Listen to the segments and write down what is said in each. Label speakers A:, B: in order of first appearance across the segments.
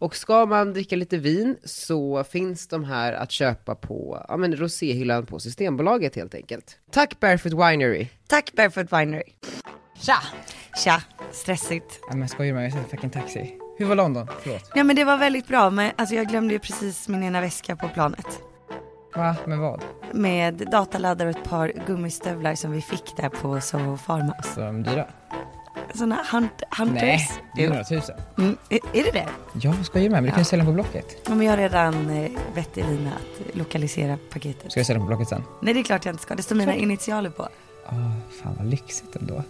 A: Och ska man dricka lite vin så finns de här att köpa på ja, men roséhyllan på Systembolaget helt enkelt. Tack Barefoot Winery!
B: Tack Barefoot Winery.
A: Tja!
B: Tja, stressigt.
A: Ja, men skojar du med mig? Jag sitter fucking taxi. Hur var London? Förlåt.
B: Nej men det var väldigt bra, men alltså jag glömde ju precis min ena väska på planet.
A: Va? Men vad?
B: Med dataladdare och ett par gummistövlar som vi fick där på Soho Farmhouse.
A: Så de dyra?
B: Sådana hunt- hunters. Jo.
A: tusen.
B: Mm, är, är det det?
A: Ja, vad skojar du med mig? Du kan ju sälja dem på Blocket.
B: Ja, men jag har redan eh, bett Elina att lokalisera paketet.
A: jag sälja dem på Blocket sen?
B: Nej det är klart jag inte ska, det står mina initialer på.
A: Fan vad lyxigt ändå.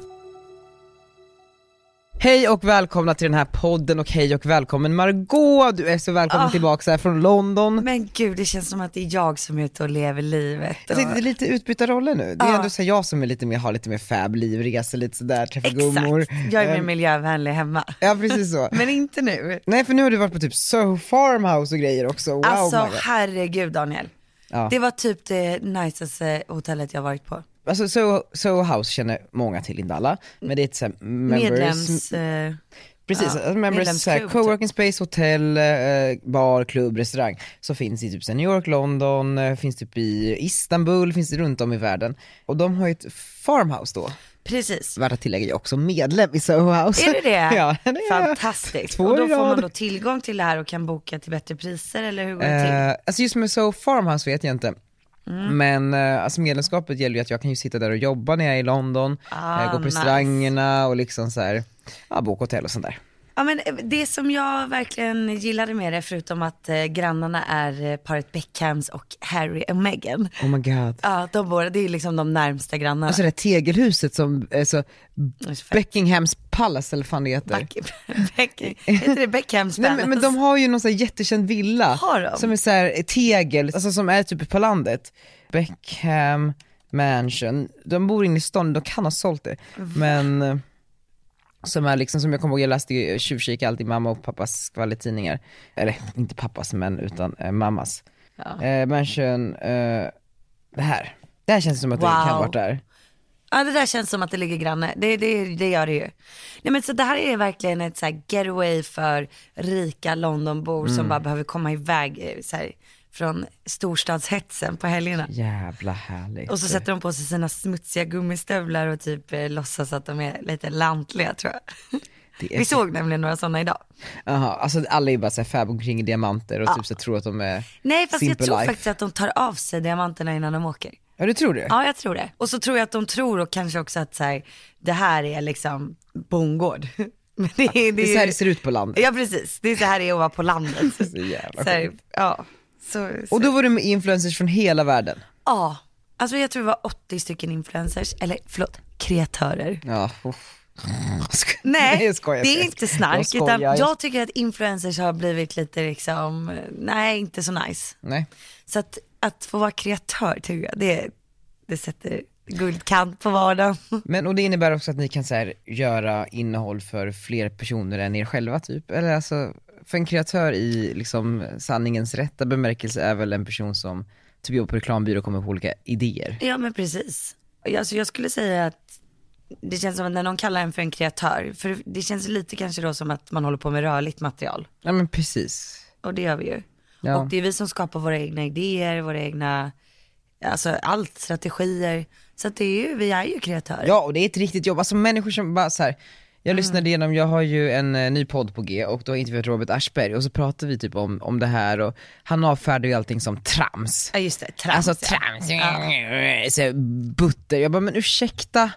A: Hej och välkomna till den här podden och hej och välkommen Margot Du är så välkommen tillbaka här från London.
B: Men gud, det känns som att det är jag som är ute och lever livet.
A: Jag
B: och-
A: tänkte det är lite utbyta roller nu. Det är
B: Ja.
A: ändå så här jag som är lite mer, har lite mer fab, livresa, lite sådär, träffa gummor.
B: Exakt, jag är mer
A: Ehm,
B: miljövänlig hemma.
A: Ja precis så.
B: Men inte nu.
A: Nej för nu har du varit på typ Soho Farmhouse och grejer också, wow
B: alltså
A: my God.
B: herregud Daniel.
A: Ja.
B: Det var typ det najsaste hotellet jag varit på.
A: Alltså Soho, Soho House känner många till, inte alla, men det är ett så här members,
B: Medlems... Eh,
A: precis,
B: ja,
A: alltså members så här,
B: medlemsklubb, typ.
A: coworking space, hotell, eh, bar, klubb, restaurang, som finns i typ så här, New York, London, eh, finns typ i Istanbul, finns runt om i världen. Och de har ju ett farmhouse då,
B: precis.
A: värt att tillägga, jag är också medlem i Soho House.
B: Är du det?
A: ja, det är jag.
B: Fantastiskt.
A: Två
B: och då
A: i
B: får
A: rad.
B: man då tillgång till det här och kan boka till bättre priser eller hur går det till?
A: Eh, alltså just med So Farmhouse vet jag inte.
B: Mm.
A: Men eh, alltså medlemskapet gäller ju att jag kan ju sitta där och jobba när jag är i London,
B: Ah,
A: eh, gå på
B: nice.
A: restaurangerna och liksom så här, ja, boka hotell och sånt där.
B: Ja, men eh, det som jag verkligen gillade med det, förutom att eh, grannarna är eh, paret Beckhams och Harry och Meghan.
A: Oh my god.
B: Ja, de båda, det är liksom de närmsta grannarna.
A: Alltså det här tegelhuset som, alltså
B: Det är så fett.
A: Beckinghams Palace eller vad fan det heter.
B: Back- Beck- Heter det Beckhams
A: Nej men, men de har ju någon så här jättekänd villa
B: Typ Har de?
A: som är så här tegel, alltså som är typ på landet. Beckham Mansion, de bor inne i stan, de kan ha sålt det. Men eh, som är liksom, som jag kommer ihåg, jag läste ju tjuvkika alltid mamma och pappas skvallertidningar. Eller inte pappas men utan eh, mammas.
B: Ja.
A: Eh, mansion, eh, det här. Det här känns som att det kan
B: Wow.
A: ha varit där.
B: Ja det där känns som att det ligger granne, det, det, det gör det ju. Nej men så det här är verkligen ett så här getaway för rika Londonbor
A: Mm.
B: som bara behöver komma iväg eh, så här, från storstadshetsen på helgerna.
A: Jävla härligt.
B: Och så sätter de på sig sina smutsiga gummistövlar och typ eh, låtsas att de är lite lantliga tror jag.
A: Det är
B: Vi
A: så-
B: såg nämligen några sådana idag.
A: Aha, alltså alla är bara såhär fab omkring i diamanter och typ så tror att de är
B: Nej fast
A: simple
B: jag tror
A: life.
B: faktiskt att de tar av sig diamanterna innan de åker.
A: Ja du tror det?
B: Ja, jag tror det. Och så tror jag att de tror och kanske också att så här, det här är liksom bondgård. Men det, är- det, är
A: Det är så här det ser ut på landet.
B: Ja, precis. Det är så här det är att vara på landet.
A: Så jävla
B: så här, ja. Så, så.
A: Och då var du med influencers från hela världen.
B: ja, alltså jag tror det var 80 stycken influencers, eller förlåt, kreatörer.
A: Ja, uff.
B: Nej,
A: jag skojar,
B: det
A: jag
B: är inte
A: skojar.
B: snark.
A: Jag
B: Jag,
A: skojar,
B: utan
A: jag-
B: jag tycker att influencers har blivit lite liksom, nej inte så nice.
A: Nej.
B: Så att, att få vara kreatör tycker jag, det, det sätter guldkant på vardagen.
A: Men och det innebär också att ni kan så här, göra innehåll för fler personer än er själva typ? Eller alltså, för en kreatör i liksom sanningens rätta bemärkelse är väl en person som typ jobbar på reklambyrå och kommer på olika idéer?
B: Ja men precis. Alltså, jag skulle säga att det känns som att när någon kallar en för en kreatör, för det känns lite kanske då som att man håller på med rörligt material.
A: Ja men precis.
B: Och det gör vi ju.
A: Ja.
B: Och det är vi som skapar våra egna idéer, våra egna, alltså allt, strategier. Så att det är ju, vi är ju kreatörer.
A: Ja, och det är ett riktigt jobb. Alltså människor som bara så här.
B: Mm.
A: Jag lyssnade igenom, jag har ju en eh, ny podd på G och då har jag intervjuat Robert Aschberg och så pratar vi typ om, om det här och han avfärdar ju allting som trams.
B: Ja, just det, trams.
A: Alltså
B: ja.
A: trams, så här, butter. Jag bara men ursäkta,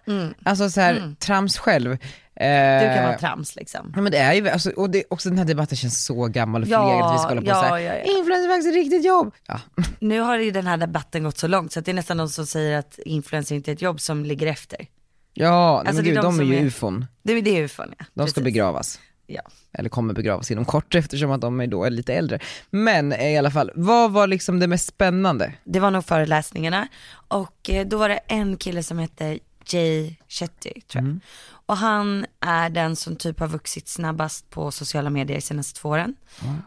A: alltså så här, trams själv. Eh,
B: Mm. Du kan vara trams liksom.
A: Ja, men det är ju, alltså, och det, också den här debatten känns så gammal och
B: Ja,
A: förlegad att vi ska hålla på
B: ja,
A: såhär,
B: ja, ja.
A: influencer är faktiskt ett riktigt jobb. Ja,
B: Nu har ju den här debatten gått så långt så att det är nästan de som säger att influencer inte är ett jobb som ligger efter.
A: ja nej,
B: Alltså,
A: men
B: det är
A: gud,
B: de
A: de, är
B: som
A: ju
B: är-
A: ufon.
B: Det är ju det ufon ja.
A: De ska
B: Precis.
A: begravas.
B: Ja.
A: Eller kommer begravas inom kort eftersom att de är då lite äldre. Men eh, i alla fall, vad var liksom det mest spännande?
B: Det var nog föreläsningarna och eh, då var det en kille som hette Jay Shetty tror jag.
A: Mm.
B: Och han är den som typ har vuxit snabbast på sociala medier de senaste två åren.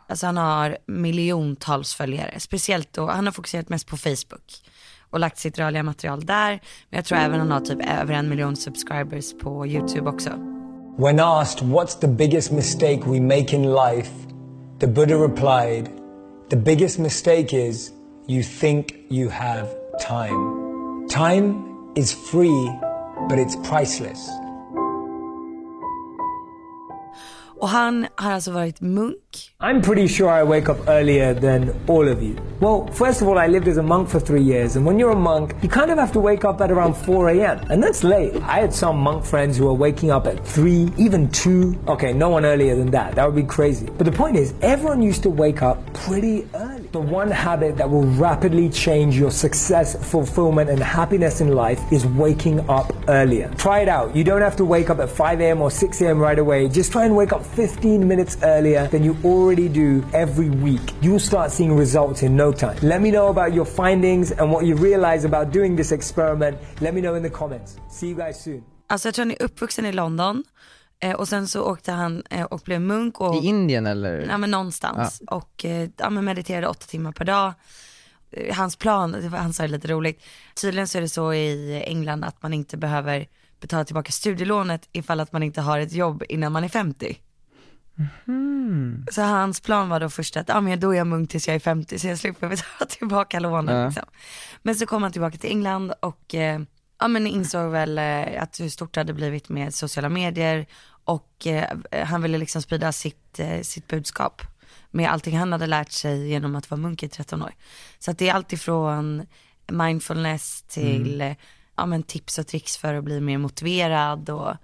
B: Alltså han har miljontals följare, speciellt då, han har fokuserat mest på Facebook och lagt sitt rörliga material där. Men jag tror även han har typ över en miljon subscribers på YouTube också.
C: When asked what's the biggest mistake we make in life, the Buddha replied, The biggest mistake is you think you have time. Time is free, but it's priceless.
B: Och han har alltså varit munk
C: I'm pretty sure I wake up earlier than all of you. Well, first of all, I lived as a monk for three years, and when you're a monk, you kind of have to wake up at around 4 a.m., and that's late. I had some monk friends who were waking up at 3, even 2. Okay, no one earlier than that. That would be crazy. But the point is, everyone used to wake up pretty early. The one habit that will rapidly change your success, fulfillment, and happiness in life is waking up earlier. Try it out. You don't have to wake up at 5 a.m. or 6 a.m. right away. Just try and wake up 15 minutes earlier than you already do every week. You'll start seeing results in no time. Let me know about your findings and what you realize about doing this experiment. Let me know in the comments. See you guys soon.
B: Alltså jag tror han är uppvuxen i London eh, och sen så åkte han eh, och blev munk och,
A: I Indien eller?
B: ja, men någonstans och eh, ja, men mediterade åtta timmar per dag. Eh, Hans plan, det var, han sa det lite roligt, tydligen så är det så i England att man inte behöver betala tillbaka studielånet ifall att man inte har ett jobb innan man är 50. Så hans plan var då först att, ja men då är jag munk tills jag är 50 så jag slipper betala tillbaka lånen liksom. Men så kom han tillbaka till England och eh, ja men insåg väl eh, att hur stort det hade blivit med sociala medier och eh, han ville liksom sprida sitt, eh, sitt budskap med allting han hade lärt sig genom att vara munk i 13 år. Så att det är alltifrån mindfulness till
A: Mm.
B: eh, ja, men tips och tricks för att bli mer motiverad och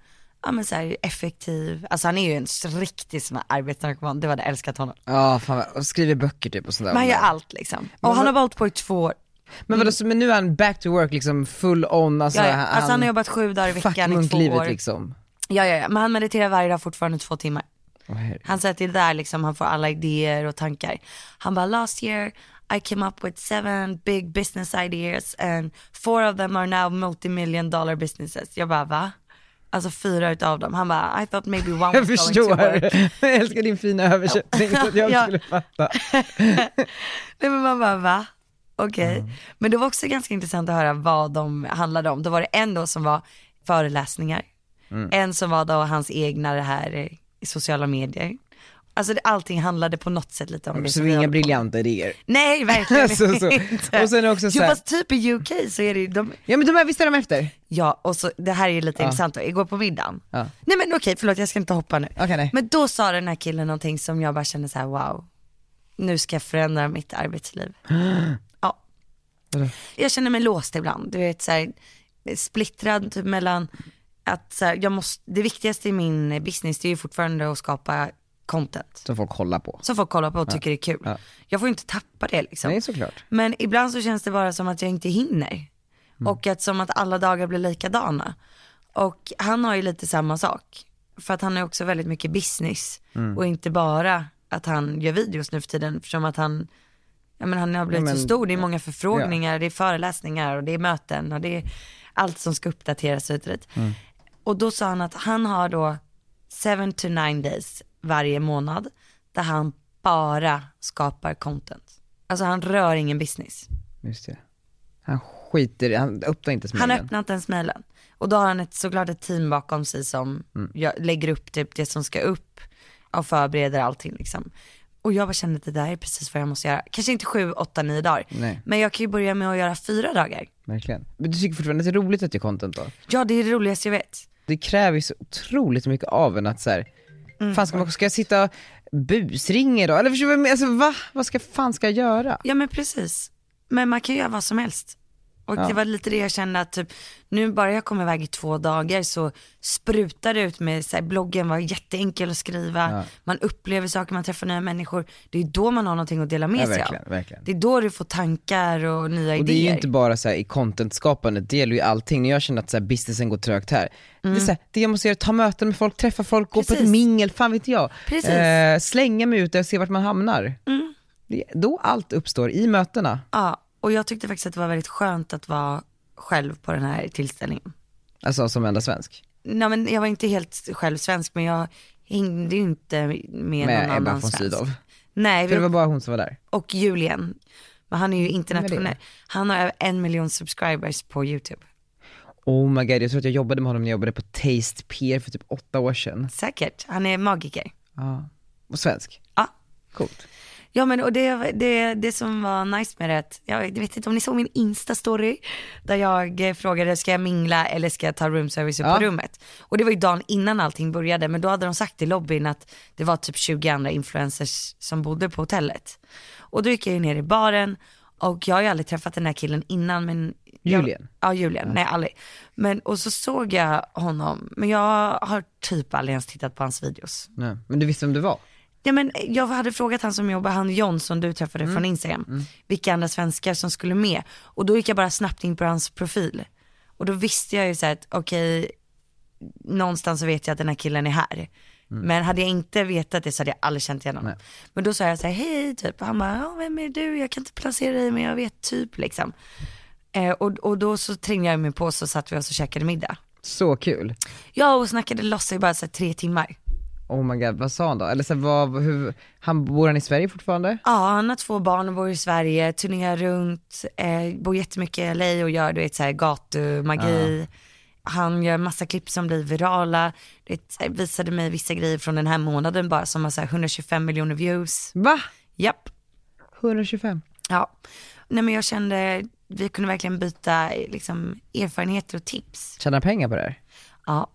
B: ja, men så här effektiv. Alltså han är ju en s- riktig sån här arbetsnarkoman, du hade älskat honom.
A: Ja, fan vad- och skriver böcker typ och sådär.
B: Men han gör allt liksom. Och han har hållit på i två år.
A: Men vadå, så, men nu är han back to work liksom full on, alltså,
B: Ja, ja. Alltså han har jobbat sju dagar i veckan i
A: fuck
B: två
A: munklivet
B: år.
A: liksom.
B: Ja, ja, ja, men han mediterar varje dag fortfarande två timmar.
A: Åh, herregud.
B: Han säger att det är där liksom han får alla idéer och tankar. Han bara, last year I came up with seven big business ideas and four of them are now multi-million dollar businesses. Jag bara, va? Alltså fyra utav dem. Han bara, I thought maybe one
A: jag
B: was going to work.
A: förstår, jag älskar din fina översättning så att jag
B: Ja.
A: skulle fatta.
B: Nej men man bara va? Okej.
A: Mm.
B: Men det var också ganska intressant att höra vad de handlade om. Då var det en då som var föreläsningar.
A: Mm.
B: En som var då hans egna det här eh, i sociala medier. Alltså det, allting handlade på något sätt lite om det.
A: Så
B: som
A: vi
B: vi
A: har inga
B: håller på med.
A: briljanta idéer.
B: Nej verkligen
A: Så, så.
B: inte.
A: Och sen är det också så
B: jo
A: här-
B: fast typ i UK så är det ju, de,
A: Ja men de här, visst är de efter?
B: ja och så det här är ju lite intressant då, igår på middagen.
A: Ja.
B: Nej men okej förlåt jag ska inte hoppa nu.
A: Okej, nej.
B: Men då sa den här killen någonting som jag bara kände så här: wow, nu ska jag förändra mitt arbetsliv. ja. Jag känner mig låst ibland, du vet så här, splittrad typ mellan att så här, jag måste, det viktigaste i min business det är ju fortfarande att skapa content
A: Som folk kollar på.
B: som folk kollar på och tycker det är kul. Jag får ju inte tappa det liksom.
A: Nej såklart.
B: Men ibland så känns det bara som att jag inte hinner. Och att som att alla dagar blir likadana. Och han har ju lite samma sak. För att han är också väldigt mycket business. Och inte bara att han gör videos nu för tiden. Eftersom att han, ja men han har blivit
A: men-
B: så stor. Det är många förfrågningar, det är föreläsningar och det är möten och det är allt som ska uppdateras och hit och dit. Och då sa han att han har då 7 to 9 days varje månad där han bara skapar content. Alltså han rör ingen business.
A: Just det. Han skiter i- han öppnar inte
B: Han
A: smällen.
B: öppnar inte ens mejlen. Och då har han ett, såklart ett team bakom sig som gör- lägger upp typ det som ska upp och förbereder allting liksom. Och jag bara kände att det där är precis vad jag måste göra. Kanske inte sju, åtta, nio dagar.
A: Nej.
B: Men jag kan ju börja med att göra fyra dagar.
A: Verkligen. Men du tycker fortfarande att det är roligt att göra content då?
B: Ja det är det roligaste jag vet.
A: Det kräver ju så otroligt mycket av en att så här,
B: Mm.
A: fan ska, man, ska jag sitta och busringa då? Eller förstår du vad jag menar? alltså, va? Vad ska, fan ska jag göra?
B: Ja men precis. Men man kan ju göra vad som helst. Och det var lite det jag kände att typ, nu bara jag kom iväg i två dagar så sprutar det ut med, så här, bloggen var jätteenkel att skriva, man upplever saker, man träffar nya människor. Det är då man har någonting att dela med
A: Ja,
B: sig
A: verkligen,
B: av.
A: verkligen.
B: Det är då du får tankar och nya
A: Och det
B: idéer.
A: är ju inte bara så här i contentskapandet, det gäller ju allting. När jag känner att så här businessen går trögt här, det, är så här, det jag måste göra är att ta möten med folk, träffa folk, gå på ett
B: Mm. Precis.
A: mingel, fan vet jag.
B: Precis. Mm.
A: Eh, slänga mig ut där och se vart man hamnar. Det, då allt uppstår, i mötena.
B: Ja, och jag tyckte faktiskt att det var väldigt skönt att vara själv på den här tillställningen.
A: Alltså som enda svensk.
B: Nej, men jag var inte helt själv svensk men jag hängde ju inte med,
A: Med
B: någon
A: Ebba
B: annan
A: von
B: svensk.
A: Sydow.
B: Nej,
A: För
B: vi,
A: det var bara hon som var där.
B: och Julian. Men han är ju
A: Mm, Vem är
B: internationell.
A: det?
B: Han har över en miljon subscribers på YouTube.
A: Oh my god, jag tror att jag jobbade med honom när jag jobbade på Taste Pier för typ åtta år sedan.
B: Säkert, han är magiker.
A: Ja. Och svensk.
B: Ja.
A: Coolt.
B: Ja men och det, det, det som var nice med det, att- jag vet inte om ni såg min instastory där jag eh, frågade ska jag mingla eller ska jag ta roomservice upp
A: Ja.
B: på rummet. Och det var ju dagen innan allting började men då hade de sagt i lobbyn att det var typ 20 andra influencers som bodde på hotellet. Och då gick jag ju ner i baren och jag har ju aldrig träffat den här killen innan men jag-
A: Julian.
B: Ja Julian, nej aldrig. Men och så såg jag honom, men jag har typ aldrig ens tittat på hans videos.
A: Nej. Men du visste vem du var?
B: Ja, men jag hade frågat han som jobbar, han John som du träffade från Instagram, vilka andra svenskar som skulle med. Och då gick jag bara snabbt in på hans profil. Och då visste jag ju så här att okej, någonstans så vet jag att den här killen är här. Men hade jag inte vetat det så hade jag aldrig känt igen honom. Men då sa jag så här, hej typ, och han bara, ja, vem är du? Jag kan inte placera dig men jag vet typ liksom. Eh, och, och då så trängde jag mig på så satt vi oss och käkade middag.
A: Så kul.
B: Jag och snackade loss i bara så här, tre timmar.
A: Oh my god, vad sa han då? Eller så här, vad, hur, han, bor han i Sverige fortfarande?
B: Ja, han har två barn och bor i Sverige, turnerar runt, eh, bor jättemycket i LA och gör du vet såhär gatumagi. Han gör massa klipp som blir virala, du vet, så här, visade mig vissa grejer från den här månaden bara som har såhär 125 miljoner views.
A: Va?
B: Japp.
A: 125?
B: Ja. Nej men jag kände, vi kunde verkligen byta eh, liksom erfarenheter och tips.
A: Tjänar han pengar på det här?
B: Ja,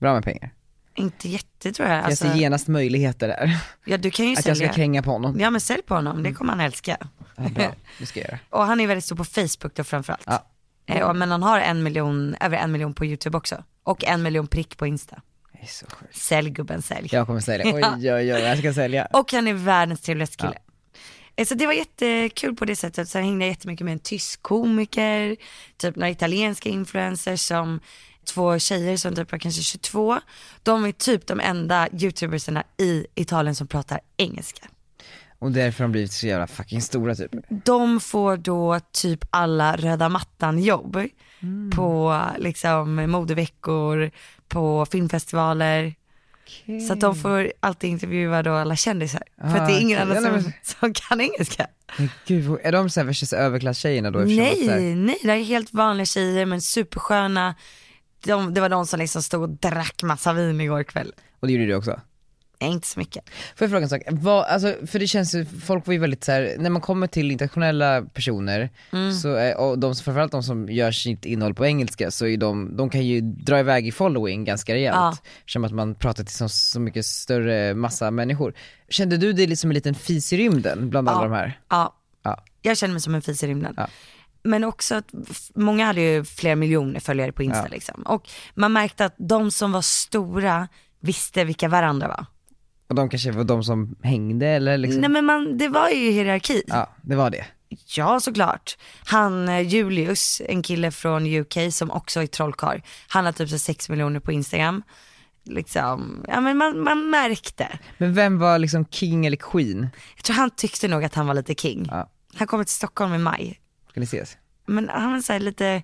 A: Bra med pengar.
B: inte jätte tror jag. Alltså,
A: jag ser genast möjligheter där.
B: ja du kan ju
A: Att jag
B: sälja.
A: ska kränga på honom.
B: Ja men sälj på honom, det kommer han älska.
A: Ja, bra, det ska jag göra.
B: Och han är väldigt stor på Facebook då framförallt.
A: Ja.
B: Eh, och- Men han har en miljon, över en miljon på YouTube också. Och en miljon prick på Insta.
A: Det är så sjukt.
B: Sälj gubben, sälj.
A: Jag kommer sälja, oj oj oj, jag ska sälja.
B: Och han är världens trevligaste kille. Eh, Så det var jättekul på det sättet. Sen hängde jag jättemycket med en tysk komiker, typ några italienska influencers som två tjejer som typ var kanske 22. De är typ de enda youtubersarna i Italien som pratar engelska.
A: Och därför har de blivit så jävla fucking stora typ.
B: de får då typ alla röda mattan jobb
A: Mm.
B: på liksom modeveckor, på filmfestivaler. Så att de får alltid intervjua då alla kändisar. för att det är ingen
A: Ah,
B: annan
A: ja,
B: som,
A: nej,
B: som kan engelska.
A: Men gud, är de så här värsta överklasstjejerna då? Eftersom att så här-
B: Nej, nej, det är helt vanliga tjejer men supersköna. De, det var de som liksom stod och drack massa vin igår kväll.
A: Och det gjorde du också?
B: Nej, inte så mycket.
A: Får jag fråga en sak? Vad, alltså, för det känns ju, folk var ju väldigt så här, när man kommer till internationella personer,
B: Mm.
A: så, är- och de, som- framförallt de som gör sitt innehåll på engelska, så är de, de kan ju dra iväg i following ganska
B: Ja.
A: rejält. Som att man pratar till så, så mycket större massa människor. Kände du dig liksom en liten fis i rymden bland alla de här?
B: Ja.
A: Ja.
B: Jag känner mig som en fis i rymden.
A: Ja.
B: Men också att f- många hade ju flera miljoner följare på Insta liksom. Och man märkte att de som var stora visste vilka varandra var.
A: Och de kanske var de som hängde eller liksom?
B: Nej men man, det var ju hierarki. Ja,
A: Ja, det var det.
B: såklart. Han eh, Julius, en kille från UK som också är trollkarl. Han har typ 6 miljoner på Instagram. Liksom, ja men man, man märkte.
A: Men vem var liksom king eller queen?
B: Jag tror han tyckte nog att han var lite king.
A: Ja.
B: Han kommer till Stockholm i maj.
A: Ska ni ses?
B: men han var så här lite,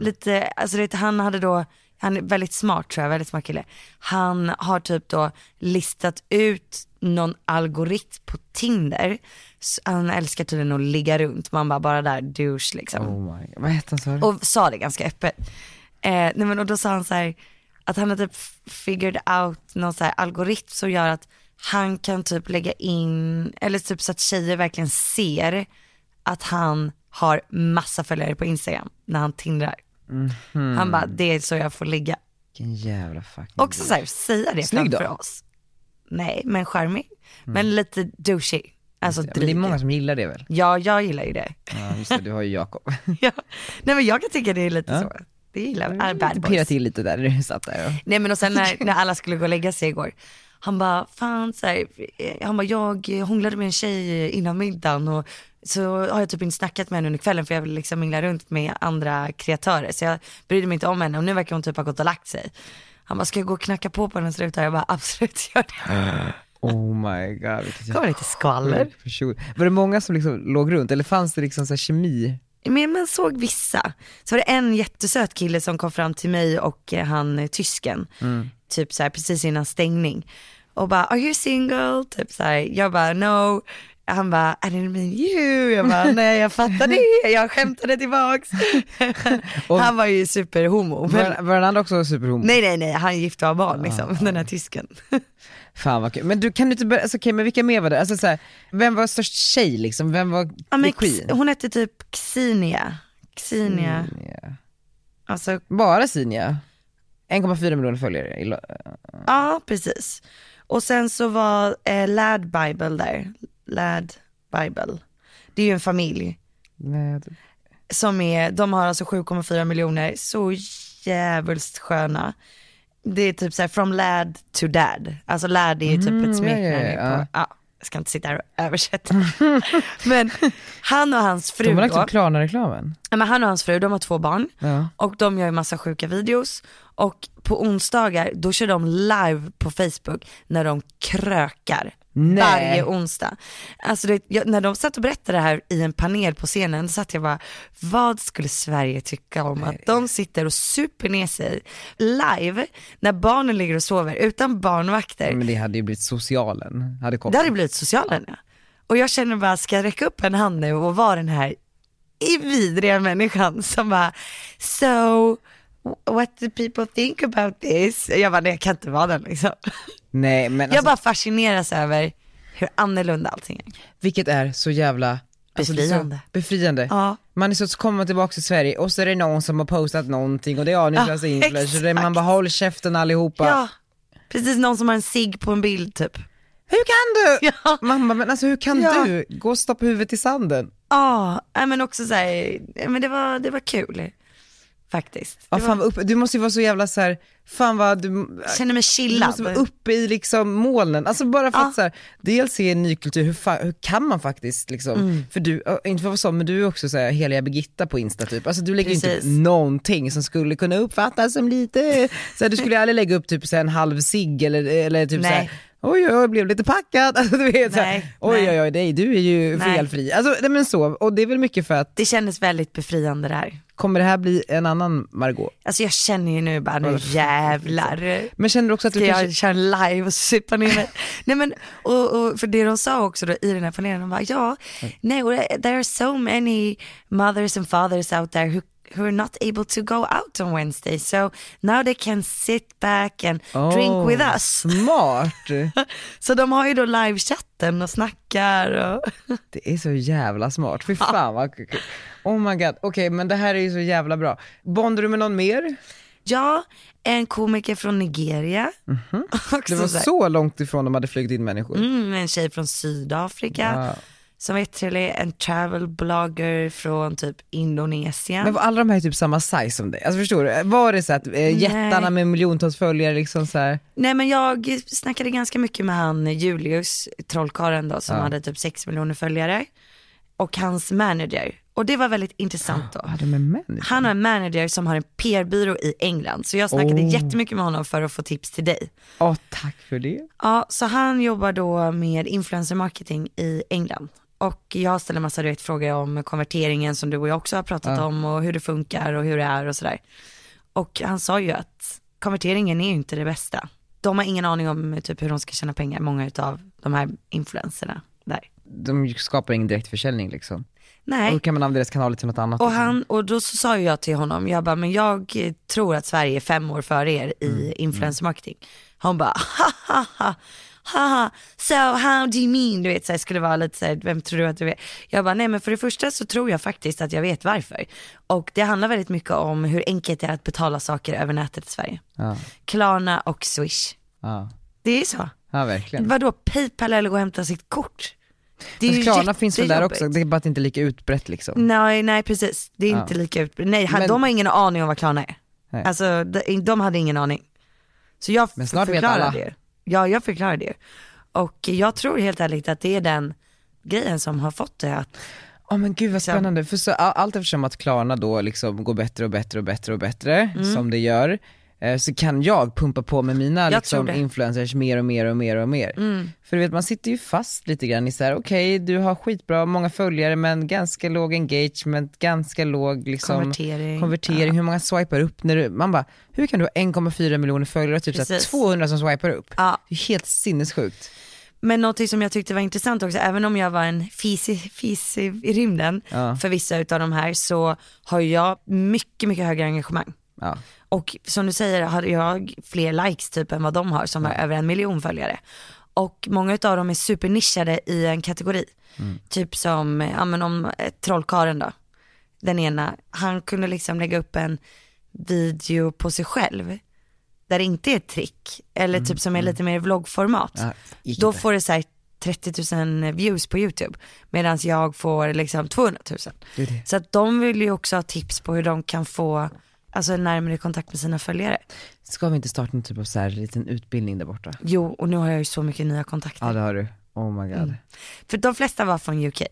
B: lite, alltså du vet, han hade då, han är väldigt smart tror jag, väldigt smart kille. Han har typ då listat ut någon algoritm på Tinder. Så Han älskar tydligen att ligga runt, man bara, bara där, douche liksom
A: Oh my god, vad hette han sa du?
B: och sa det ganska öppet. Eh, nej men, och då sa han så här, att han har typ figured out någon så här algoritm som gör att han kan typ lägga in, eller typ så att tjejer verkligen ser att han har massa följare på Instagram när han tindrar.
A: Mhm.
B: Han bara, det är så jag får ligga.
A: Vilken jävla fucking...
B: Också så här, säga det
A: Snygg då. Mm.
B: framför oss. Nej, men charmig. Men lite douchey. Alltså
A: Men det är
B: dryg.
A: många som gillar det väl?
B: Ja, jag gillar ju det.
A: Ja just det, du har ju Jakob.
B: ja. Nej men jag kan tycka det är lite
A: Ja.
B: så. Det gillar jag. Ah, bad
A: Pirra
B: boys.
A: till lite där när du satt där och...
B: Nej men och sen när, när alla skulle gå och lägga sig igår. Han bara, fan så här, eh, han bara, jag eh, hånglade med en tjej innan middagen och så har jag typ inte snackat med henne under kvällen för jag vill liksom mingla runt med andra kreatörer så jag brydde mig inte om henne och nu verkar hon typ ha gått och lagt sig. Han bara, ska jag gå och knacka på på hennes ruta? Jag bara, absolut gör det.
A: Oh my god vilket
B: Kommer lite skvaller.
A: sjukt person. Var det många som liksom låg runt eller fanns det liksom så här kemi?
B: Men man såg vissa. Så var det en jättesöt kille som kom fram till mig och eh, han eh, tysken. Typ så här precis innan stängning. Och bara, are you single? Typ så här. Jag bara, no. Han bara, I didn't mean you. Jag bara, nej jag fattar det. Jag skämtade tillbaks.
A: Och-
B: han var ju superhomo. Men...
A: Var, var den andra också superhomo?
B: Nej nej nej, han är gift och har barn liksom, den här tysken.
A: Fan vad kul. Men du kan du inte börja, alltså, okej men vilka mer var det? Alltså, så här, vem var störst tjej liksom? Vem var
B: ja, men,
A: queen?
B: X- hon hette typ Xinia. Xinia.
A: Zinja.
B: Alltså
A: Bara Sinja? 1,4 miljoner följare. i lo-
B: Ja, precis. Och sen så var eh, Lad Bible där. Lad Bible. Det är ju en familj
A: Nej, jag-
B: som är, de har alltså 7,4 miljoner, så jävligt sköna. Det är typ såhär from lad to dad. Alltså lad är ju typ ett
A: Mm, ja, ja,
B: smeknamn
A: ja.
B: på, ja, jag ska inte sitta här och översätta. Men han och hans fru
A: De har lagt
B: då,
A: upp Klarna-reklamen.
B: Ja, men han och hans fru, de har två barn
A: Ja.
B: och de gör ju massa sjuka videos och på onsdagar då kör de live på Facebook när de krökar.
A: Nej.
B: Varje onsdag. Alltså det, jag, när de satt och berättade det här i en panel på scenen så satt jag bara, vad skulle Sverige tycka om att de sitter och super ner sig live när barnen ligger och sover utan barnvakter.
A: Men det hade ju blivit socialen. Hade kommit.
B: Det hade blivit socialen ja. Och jag känner bara, ska jag räcka upp en hand nu och vara den här i vidriga människan som bara, so what do people think about this? Jag bara, nej jag kan inte vara den liksom.
A: Nej men alltså,
B: jag bara fascineras över hur annorlunda allting är.
A: vilket är så jävla alltså, det är så
B: Befriande.
A: befriande.
B: Ja.
A: Man är så, så kommer man tillbaka till Sverige och så är det någon som har postat någonting och det är aningslösa
B: Ja,
A: influencers.
B: exakt.
A: Man bara håll käften allihopa.
B: Ja, precis någon som har en cigg på en bild typ.
A: Hur kan du?
B: Ja.
A: Mamma men alltså hur kan
B: Ja.
A: du? Gå och stoppa huvudet i sanden.
B: Ja, nej, men också så här, nej, men det var, det var kul faktiskt.
A: Ja,
B: Det
A: fan
B: var,
A: vad upp, du måste ju vara så jävla så här, fan vad du,
B: jag känner mig
A: du
B: chillad.
A: måste vara uppe i liksom molnen. Alltså bara för att
B: Ja.
A: så här, dels se en ny kultur, hur, fa, hur kan man faktiskt liksom,
B: Mm.
A: för du, äh, inte för att vara sån men du är också så här, heliga Birgitta på Insta typ. Alltså du lägger ju inte upp
B: Precis.
A: någonting som skulle kunna uppfattas som lite, så här, du skulle ju aldrig lägga upp typ så här, en halv cigg eller, eller typ så här,
B: Nej.
A: Oj, oj, oj, blev lite packad. Alltså, du vet, så här,
B: Nej,
A: oj,
B: nej.
A: oj, oj, nej, du är ju
B: Nej.
A: felfri. Alltså, nej, men så, och det är väl mycket för att,
B: Det kändes väldigt befriande det här.
A: kommer det här bli en annan Margot?
B: Alltså jag känner ju nu bara, nu jävlar.
A: Men känner du också att du
B: Ska
A: kanske...
B: jag köra en live och supa ner mig? nej men, och, och för det de sa också då i den här panelen, de bara ja,
A: Mm.
B: nej, och det- there are so many mothers and fathers out there who who are not able to go out on Wednesday so now they can sit back and drink
A: Oh,
B: with us.
A: Smart!
B: Så de har ju då livechatten och snackar och
A: Det är så jävla smart, fy fan vad kul. Oh my god, okej men det här är ju så jävla bra. Bondar du med någon mer?
B: ja, en komiker från Nigeria.
A: Mhm. Det var så långt ifrån de hade flugit in människor.
B: Mm, en tjej från Sydafrika
A: Ja.
B: som var jättetrevlig, en travel blogger från typ Indonesien.
A: Men var alla de här typ samma size som dig? Alltså förstår du? Var det så att eh, jättarna med miljontals följare liksom så här,
B: Nej men jag snackade ganska mycket med han Julius, trollkarlen då, som hade typ 6 miljoner följare. Och hans manager. Och det var väldigt intressant då.
A: ja de är män.
B: Han har en manager som har en PR-byrå i England, så jag snackade
A: Oh.
B: jättemycket med honom för att få tips till dig.
A: Ja tack för det.
B: Ja, så han jobbar då med influencer marketing i England. Och jag ställer massa du vet, frågor om konverteringen som du och jag också har pratat om och hur det funkar och hur det är och sådär. Och han sa ju att konverteringen är ju inte det bästa. De har ingen aning om typ hur de ska tjäna pengar, många av de här influencerna där.
A: De skapar ingen direktförsäljning liksom.
B: Nej.
A: Då kan man använda deras kanaler till något annat.
B: Och,
A: liksom.
B: han, och då så sa ju jag till honom, jag bara, men jag eh, tror att Sverige är fem år före er i
A: Mm,
B: influencer marketing. Han bara, ha ha ha, ha ha, so how do you mean? Du vet, så här, skulle vara lite så här, vem tror du att du är? Jag bara, nej men för det första så tror jag faktiskt att jag vet varför. Och det handlar väldigt mycket om hur enkelt det är att betala saker över nätet i Sverige.
A: Ja,
B: Klarna och Swish.
A: ja.
B: Det är så.
A: ja verkligen.
B: Vadå, Paypal eller gå och hämta sitt kort? Det är
A: Men
B: ju
A: Klarna finns väl där
B: jättejobbigt.
A: också, det är bara att det inte är lika utbrett liksom.
B: Nej, nej precis. Det är
A: Ja.
B: inte lika utbrett. Nej, ha-
A: Men-
B: de har ingen aning om vad Klarna är.
A: Nej.
B: Alltså de, de hade ingen aning. Så jag
A: Men snart vet
B: förklarade
A: alla.
B: det. Ja, jag förklarade det. Och jag tror helt ärligt att det är den grejen som har fått det att,
A: Ja men gud vad
B: Så-
A: spännande, för så, a- allt eftersom att Klarna då liksom går bättre och bättre och bättre och bättre, som det gör, eh, så kan jag pumpa på med mina
B: Mm. Jag
A: liksom,
B: tror det. Mm.
A: influencers mer och mer och mer och mer. För du vet man sitter ju fast lite grann i såhär, okej du har skitbra många följare men ganska låg engagement, ganska låg liksom
B: Konvertering.
A: konvertering, hur många swipar upp när du, man bara, hur kan du ha 1,4 miljoner följare och typ såhär,
B: Precis.
A: 200 som swipar upp?
B: Ja.
A: Det är helt sinnessjukt.
B: men någonting som jag tyckte var intressant också, även om jag var en fis, i- fis i, i rymden
A: Ja.
B: för vissa utav de här så har jag mycket, mycket högre engagemang.
A: Ja.
B: Och som du säger har jag fler likes typ än vad de har som har över en miljon följare. Och många utav dem är supernischade i en kategori.
A: Mm.
B: Typ som, ja men om eh, trollkaren då. Den ena, han kunde liksom lägga upp en video på sig själv. Där det inte är ett trick. Eller typ som är lite mer vloggformat.
A: Mm, Ja, gick
B: Då
A: inte.
B: får det så här 30 000 views på YouTube. Medan jag får liksom 200 000.
A: Det är det.
B: Så att de vill ju också ha tips på hur de kan få alltså, närmare kontakt med sina följare.
A: Ska vi inte starta någon typ av såhär liten utbildning där borta?
B: Jo, och nu har jag ju så mycket nya kontakter.
A: Ja det har du, oh my god.
B: Mm. För de flesta var från UK.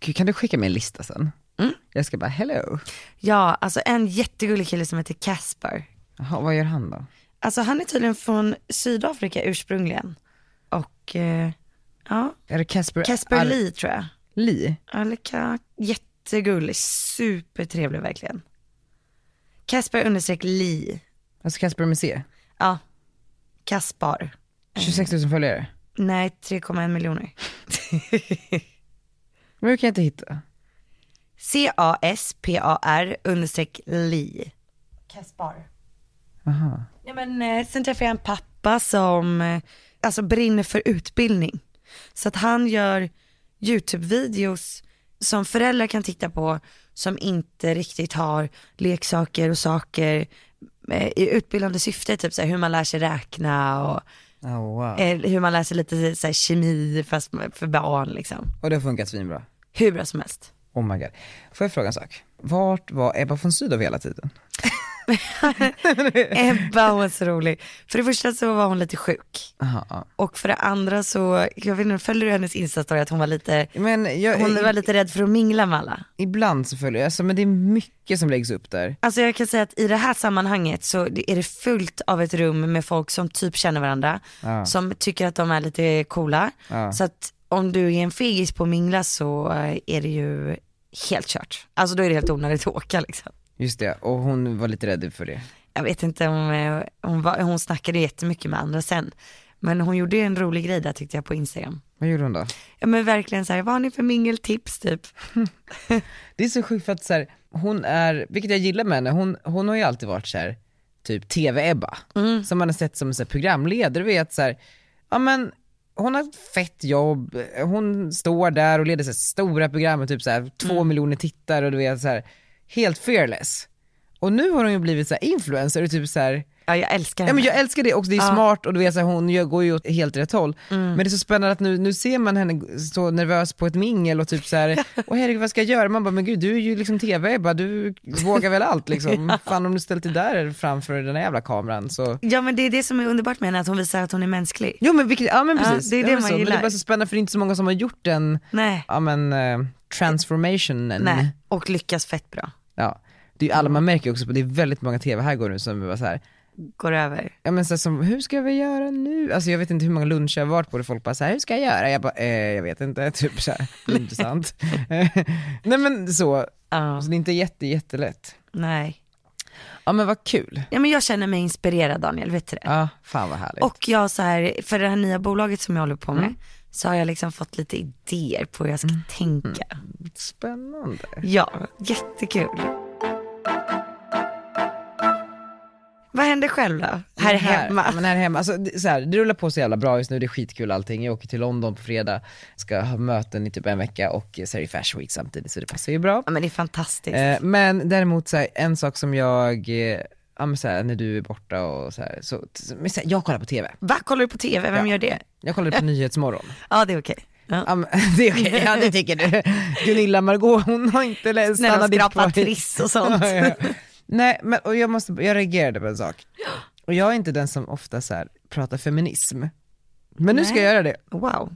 A: Gud, kan du skicka mig en lista sen?
B: Mm.
A: Jag ska bara hello.
B: Ja, alltså en jättegullig kille som heter Casper.
A: Jaha, vad gör han då?
B: Alltså han är tydligen från Sydafrika ursprungligen. Och eh, ja,
A: Är det Casper?
B: Casper
A: Ar-
B: Lee tror jag.
A: Lee?
B: Alika, jättegullig, supertrevlig verkligen. Casper understreck Lee.
A: Alltså Casper med C?
B: Ja, Kaspar.
A: 26 000 följare?
B: Nej, 3,1 miljoner.
A: Men hur kan jag inte hitta?
B: C-A-S-P-A-R understreck Li. Kaspar.
A: Aha.
B: Ja, men, eh, sen träffade jag en pappa som eh, alltså, brinner för utbildning. Så att han gör YouTube-videos som föräldrar kan titta på som inte riktigt har leksaker och saker eh, i utbildande syfte, typ så här, hur man lär sig räkna och
A: Oh, wow.
B: eh, hur man lär sig lite så här, kemi fast för barn liksom.
A: Och det har funkat svinbra.
B: Hur bra som helst.
A: Oh my god. Får jag fråga en sak? Vart var Ebba von Sydow hela tiden?
B: Ebba hon var så rolig. För det första så var hon lite sjuk.
A: Aha, ja.
B: Och för det andra så, jag vet inte, följer du hennes instastory att hon var lite,
A: Men jag,
B: hon var lite rädd för att mingla med alla?
A: ibland så följer jag, alltså, men det är mycket som läggs upp där.
B: Alltså jag kan säga att i det här sammanhanget så är det fullt av ett rum med folk som typ känner varandra,
A: Ja.
B: som tycker att de är lite coola.
A: Ja.
B: Så att om du är en fegis på att mingla så eh, är det ju helt kört. Alltså då är det helt onödigt att åka liksom.
A: Just det, och hon var lite rädd för det.
B: jag vet inte om eh, hon, var, hon snackade jättemycket med andra sen. Men hon gjorde ju en rolig grej där tyckte jag på Instagram.
A: Vad gjorde hon då?
B: Ja men verkligen så här, vad har ni för mingeltips typ?
A: Det är så sjukt för att så här, hon är, vilket jag gillar med henne, hon, hon har ju alltid varit så här, typ TV-Ebba. Som man har sett som en så här, programledare, du vet så här, ja men hon har ett fett jobb, hon står där och leder så här, stora program med typ så här, två miljoner tittare och du vet så här, helt fearless. Och nu har hon ju blivit så här, influencer och typ så här,
B: Ja jag älskar henne.
A: Ja Mm. men jag älskar det också, det är smart och du vet, så här, hon gör, går ju åt helt rätt håll. Men det är så spännande att nu, nu ser man henne så nervös på ett mingel och typ så här, åh herregud vad ska jag göra? Man bara, men gud du är ju liksom tv bara du vågar väl allt liksom. Fan om du ställt dig där framför den här jävla kameran så.
B: Ja men det är det som är underbart med henne, att hon visar att hon är mänsklig.
A: Jo men vilket, ja men
B: Ja,
A: precis.
B: det är det
A: Ja, men
B: man
A: så. Men Det
B: gillar.
A: är bara så spännande för det är inte så många som har gjort den,
B: Nej,
A: ja Mm. men eh, transformationen.
B: nej. Och lyckas fett bra.
A: Ja. Det är ju alla man märker också, på- det är väldigt många tv-härgor nu som är bara så här,
B: Går över.
A: ja men så här, som, hur ska vi göra nu? Alltså jag vet inte hur många luncher jag har varit på där folk bara så här, hur ska jag göra? Jag bara, eh, jag vet inte, typ så här, det är intressant. Nej men så,
B: Ja,
A: så det är inte jätte, jättelätt.
B: nej.
A: Ja men vad kul.
B: Ja men jag känner mig inspirerad Daniel, vet du det?
A: Ja, fan vad härligt.
B: Och jag så här, för det här nya bolaget som jag håller på med,
A: Mm.
B: så har jag liksom fått lite idéer på hur jag ska tänka.
A: Mm. Spännande.
B: Ja, jättekul. Vad händer själv då? Här hemma?
A: Ja, Men här hemma, alltså, det, så här, det rullar på så jävla bra just nu, det är skitkul allting. Jag åker till London på fredag, ska ha möten i typ en vecka och eh, så är det Fashion Week samtidigt så det passar ju bra.
B: Ja, men det är fantastiskt.
A: Eh, men däremot så här, en sak som jag, eh, ja men så här, när du är borta och så här, så, men så här, jag kollar på TV.
B: Va, kollar du på TV? Vem
A: ja.
B: gör det?
A: Jag kollade på Nyhetsmorgon.
B: Ja, det är okej. Ja.
A: Ja, men- det är okej, ja det tycker du. Gunilla Margot hon har inte lä-
B: Snälla
A: stannat ditt
B: skrapa
A: poäng.
B: triss och sånt.
A: Ja, ja. Nej men och jag, måste, jag reagerade på en sak. Och jag är inte den som ofta så här, pratar feminism. Men nu ska
B: Nej.
A: jag göra det.
B: Wow.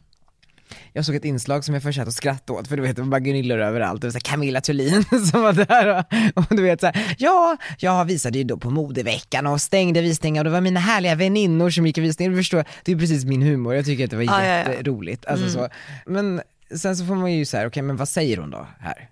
A: Jag såg ett inslag som jag först satt och skrattade åt, för du vet det var bara Gunillor överallt, det var så här Camilla Thulin som var där och, och du vet så här, ja, jag visade ju då på modeveckan och stängde visningar och det var mina härliga väninnor som gick i visningar, du förstår, det är precis min humor, jag tycker att det var
B: Ja, ja, ja. Mm.
A: jätteroligt. Alltså, så. Men sen så får man ju så här, okej men vad säger hon då här?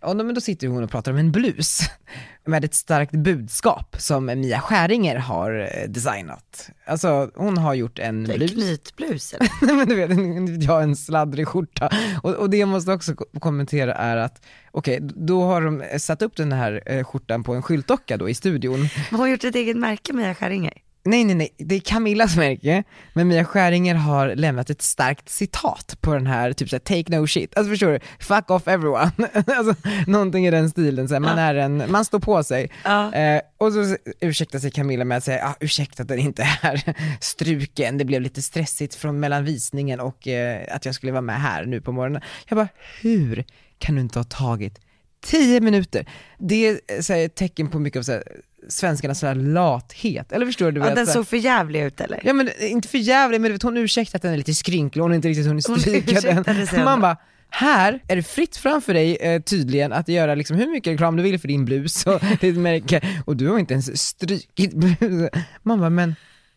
A: Ja, men då sitter hon och pratar om en blus med ett starkt budskap som Mia Skäringer har eh, designat. Alltså hon har gjort en blus.
B: Knytblus Typ eller?
A: Nej, men du vet, en- en- jag har en sladdrig skjorta. Och, och det jag måste också ko- kommentera är att, okej, då har de eh, satt upp den här eh, skjortan på en skyltdocka då i studion.
B: Har hon gjort ett eget märke Mia Skäringer?
A: Nej, nej, nej, det är Camillas märke, men Mia Skäringer har lämnat ett starkt citat på den här, typ såhär, take no shit, alltså förstår du? Fuck off everyone. alltså, någonting i den stilen, såhär, man är en, man står på sig.
B: Ja.
A: Eh, och så s- ursäktar sig Camilla med att säga, ah, ursäkta att den inte är struken, det blev lite stressigt från mellan visningen och eh, att jag skulle vara med här nu på morgonen. Jag bara, hur kan du inte ha tagit 10 minuter? Det är eh, så här, ett tecken på mycket av så här, svenskarnas så här, lathet, eller förstår du?
B: Ja,
A: vet,
B: den
A: så här-
B: såg för jävlig ut eller?
A: Ja men eh, inte för jävligt men du vet, hon ursäktar att den är lite skrynklig, hon har inte riktigt hunnit
B: Hon
A: stryka
B: ursäktade sig
A: den. Man
B: ändå.
A: bara, här är det fritt framför dig eh, tydligen att göra liksom hur mycket reklam du vill för din blus och ditt märke och du har inte ens strykit blusen. Man bara, men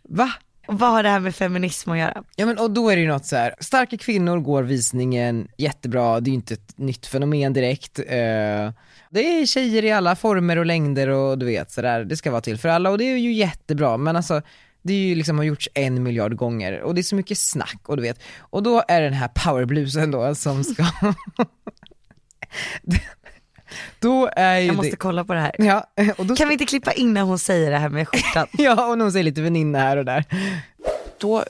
A: va?
B: Och vad har det här med feminism att göra?
A: Ja men och då är det ju något så här. starka kvinnor går visningen, jättebra, det är ju inte ett nytt fenomen direkt. Eh, det är tjejer i alla former och längder och du vet sådär, det ska vara till för alla och det är ju jättebra men alltså det är ju liksom har gjorts en miljard gånger och det är så mycket snack och du vet. Och då är det den här powerblusen då som ska... då är ju
B: Jag måste
A: det...
B: kolla på det här.
A: Ja, och då...
B: Kan vi inte klippa in när hon säger det här med skjortan?
A: ja, och någon säger lite väninna här och där.
D: Då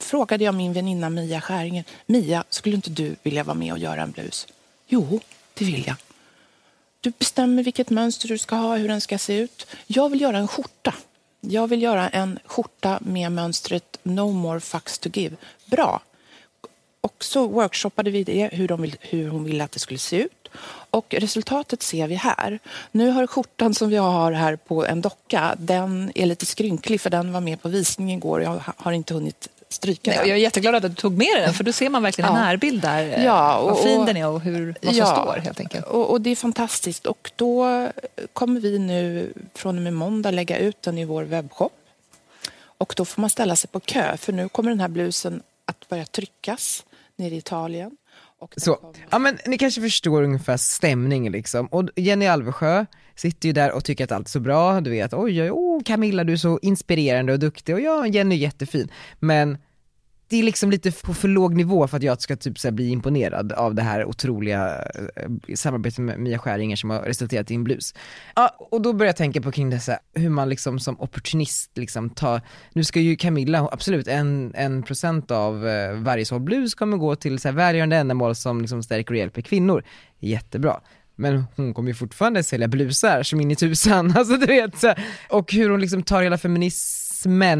D: frågade jag min väninna Mia Skäringen. Mia, skulle inte du vilja vara med och göra en blus? Jo, det vill jag. Du bestämmer vilket mönster du ska ha, hur den ska se ut. Jag vill göra en skjorta. Jag vill göra en skjorta med mönstret No more fucks to give. Bra. Och så workshoppade vi det, hur, de vill, hur hon ville att det skulle se ut. Och resultatet ser vi här. Nu har skjortan som vi har här på en docka, den är lite skrynklig för den var med på visningen igår och jag ha- har inte hunnit stryka
E: Nej, och
D: den.
E: jag är jätteglad att du tog med dig den, för då ser man verkligen
D: Ja.
E: en närbild där. eh,
D: Ja,
E: vad
D: och-
E: fin
D: och-
E: den är och hur, vad som står helt enkelt.
D: Och, och det är fantastiskt. Och då kommer vi nu från och med måndag lägga ut den i vår webbshop. Och då får man ställa sig på kö, för nu kommer den här blusen att börja tryckas nere i Italien. Och den
A: Så,
D: kommer-
A: ja men ni kanske förstår ungefär stämningen liksom. Och Jenny Alvesjö sitter ju där och tycker att allt är så bra, du vet, oj, oj, oj, Camilla du är så inspirerande och duktig och ja, Jenny är jättefin. Men det är liksom lite på för låg nivå för att jag ska typ så här bli imponerad av det här otroliga eh, samarbetet med Mia Skäringer som har resulterat i en blus. Ja, och då börjar jag tänka på kring det så här, hur man liksom som opportunist liksom tar, nu ska ju Camilla, absolut en, en procent av eh, varje såld blus kommer gå till så här välgörande ändamål som liksom stärker och hjälper kvinnor. Jättebra. Men hon kommer ju fortfarande sälja blusar som in i tusan, alltså du vet. Så här. Och hur hon liksom tar hela feminismen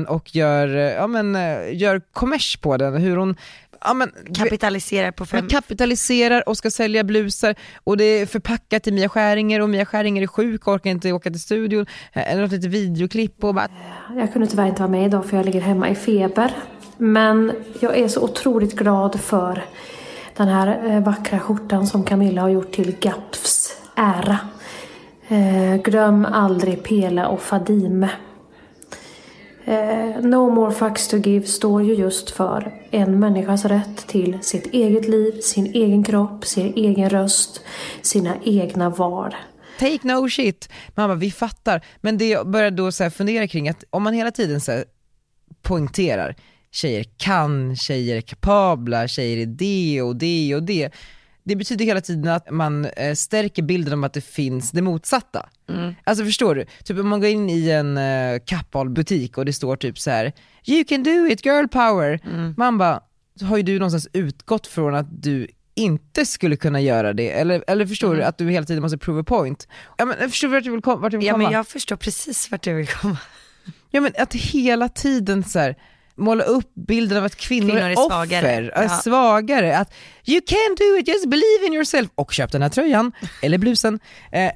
A: och gör, eh, ja men, eh, gör kommers på den, hur hon, ja men
B: Kapitalisera på fem...
A: man kapitaliserar och ska sälja blusar och det är förpackat till Mia Skäringer och Mia Skäringer är sjuk och orkar inte åka till studion. Eh, Något litet videoklipp och bara
F: Jag kunde tyvärr inte vara med idag för jag ligger hemma i feber. Men jag är så otroligt glad för den här eh, vackra skjortan som Camilla har gjort till Gapfs ära. Eh, glöm aldrig Pela och Fadime. Eh, no more fucks to give står ju just för en människas rätt till sitt eget liv, sin egen kropp, sin egen röst, sina egna val.
A: Take no shit. Man bara, vi fattar. Men det jag började då så här fundera kring att om man hela tiden så här poängterar, tjejer kan, tjejer är kapabla, tjejer är det och det och det. Det betyder hela tiden att man eh, stärker bilden om att det finns det motsatta. Alltså förstår du? Typ om man går in i en eh, kappahlbutik och det står typ så här: you can do it, girl power. Man bara, har ju du någonstans utgått från att du inte skulle kunna göra det, eller, eller förstår du att du hela tiden måste prove a point? Ja men förstår du vart jag vill kom- vart jag vill
B: Ja
A: komma?
B: men jag förstår precis vart du vill komma.
A: Ja men att hela tiden så här, måla upp bilden av att kvinnor,
B: Kvinnor är
A: är
B: svagare.
A: offer, är
B: Ja.
A: svagare. Att you can do it, just believe in yourself. Och köp den här tröjan, eller blusen. Eh,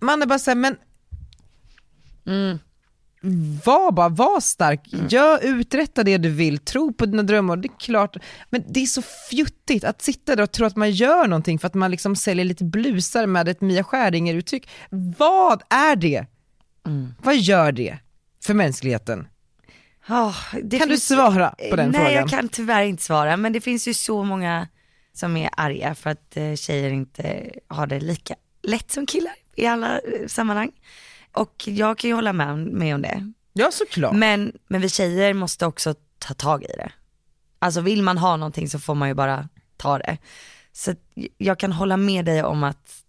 A: man är bara såhär, men
B: Mm.
A: var bara, var stark. Gör, uträtta det du vill, tro på dina drömmar. Det är klart, men det är så fjuttigt att sitta där och tro att man gör någonting för att man liksom säljer lite blusar med ett Mia Skäringer-uttryck. Vad är det? Vad gör det för mänskligheten?
B: Ah, det
A: Kan du
B: finns-
A: svara på den
B: Nej,
A: frågan?
B: jag kan tyvärr inte svara, men det finns ju så många som är arga för att eh, tjejer inte har det lika lätt som killar i alla eh, sammanhang. Och jag kan ju hålla med, om- med om det.
A: Ja, såklart.
B: Men, men vi tjejer måste också ta tag i det. Alltså vill man ha någonting så får man ju bara ta det. Så att j- jag kan hålla med dig om att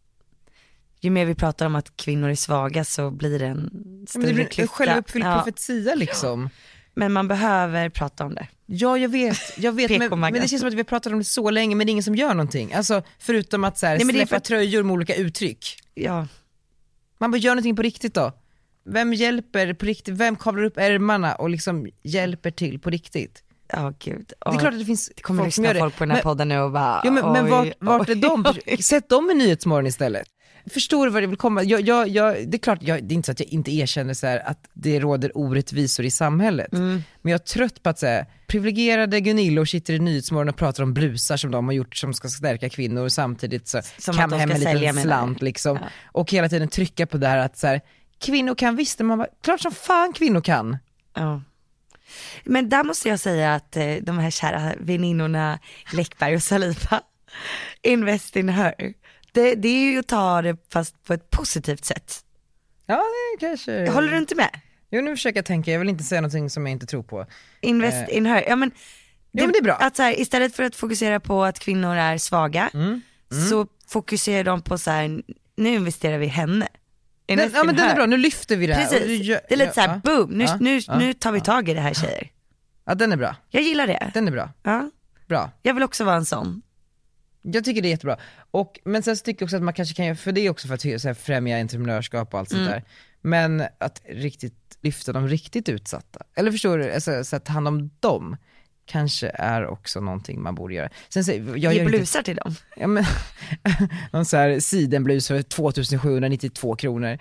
B: ju mer vi pratar om att kvinnor är svaga så blir det en
A: Ja,
B: större
A: men det blir en
B: klyfta.
A: självuppfylld
B: Ja,
A: profetia liksom.
B: men man behöver prata om det.
A: Ja, jag vet. Jag vet men, men
B: PK-maggan.
A: det känns som att vi har pratat om det så länge, men det är ingen som gör någonting. Alltså, förutom att så här,
B: Nej, men det är
A: släppa
B: för att-
A: tröjor med olika uttryck.
B: Ja.
A: Man bara, gör någonting på riktigt då. Vem hjälper på riktigt? Vem kavlar upp ärmarna och liksom hjälper till på riktigt?
B: Ja gud.
A: Det är klart att det finns
B: det kommer
A: folk som
B: lyssna
A: gör det.
B: folk på den här
A: men,
B: podden nu och bara
A: ja, men, men
B: oj,
A: vart, vart är
B: oj,
A: de?
B: oj.
A: Sätt dem i Nyhetsmorgon istället. Förstår du vad det vill komma? Jag, jag, jag, det är klart, jag, det är inte så att jag inte erkänner så här att det råder orättvisor i samhället.
B: Mm.
A: Men jag är trött på att säga privilegierade Gunillor sitter i Nyhetsmorgon och pratar om blusar som de har gjort som ska stärka kvinnor och samtidigt så
B: Som att
A: kan
B: de
A: hem
B: ska
A: en
B: sälja,
A: liten
B: menar
A: slant liksom. Och hela tiden trycka på det här att så här, kvinnor kan visst, men man bara, klart som fan kvinnor kan.
B: Ja. Men där måste jag säga att eh, de här kära väninnorna Läckberg och Saliba, invest in her. Det, det är ju att ta det fast på ett positivt sätt.
A: Ja, det kanske...
B: Håller du inte med?
A: Jo, nu försöker jag tänka, jag vill inte säga någonting som jag inte tror på.
B: Invest in her. Ja, men det,
A: Eh. men det är bra.
B: Att så här, istället för att fokusera på att kvinnor är svaga
A: Mm.
B: så fokuserar de på så här, nu investerar vi i henne.
A: Den,
B: Invest
A: ja,
B: in
A: men den är
B: her.
A: bra, nu lyfter vi det här.
B: Precis,
A: Och du gör-
B: det är lite såhär
A: ja,
B: boom, nu,
A: ja,
B: nu,
A: ja.
B: nu tar vi tag i det här tjejer.
A: Ja, den är bra.
B: Jag gillar det.
A: Den är bra.
B: Ja.
A: Bra.
B: Jag vill också vara en sån.
A: Jag tycker det är jättebra. Och, men sen så tycker jag också att man kanske kan göra, för det är också för att så här, främja entreprenörskap och allt
B: Mm.
A: sånt där. Men att riktigt lyfta de riktigt utsatta. Eller förstår du, alltså, så att ta hand om dem kanske är också någonting man borde göra. Sen så, jag gör
B: Ge
A: inte-
B: blusar till dem.
A: ja, men, någon så här sidenblus för 2792 kronor.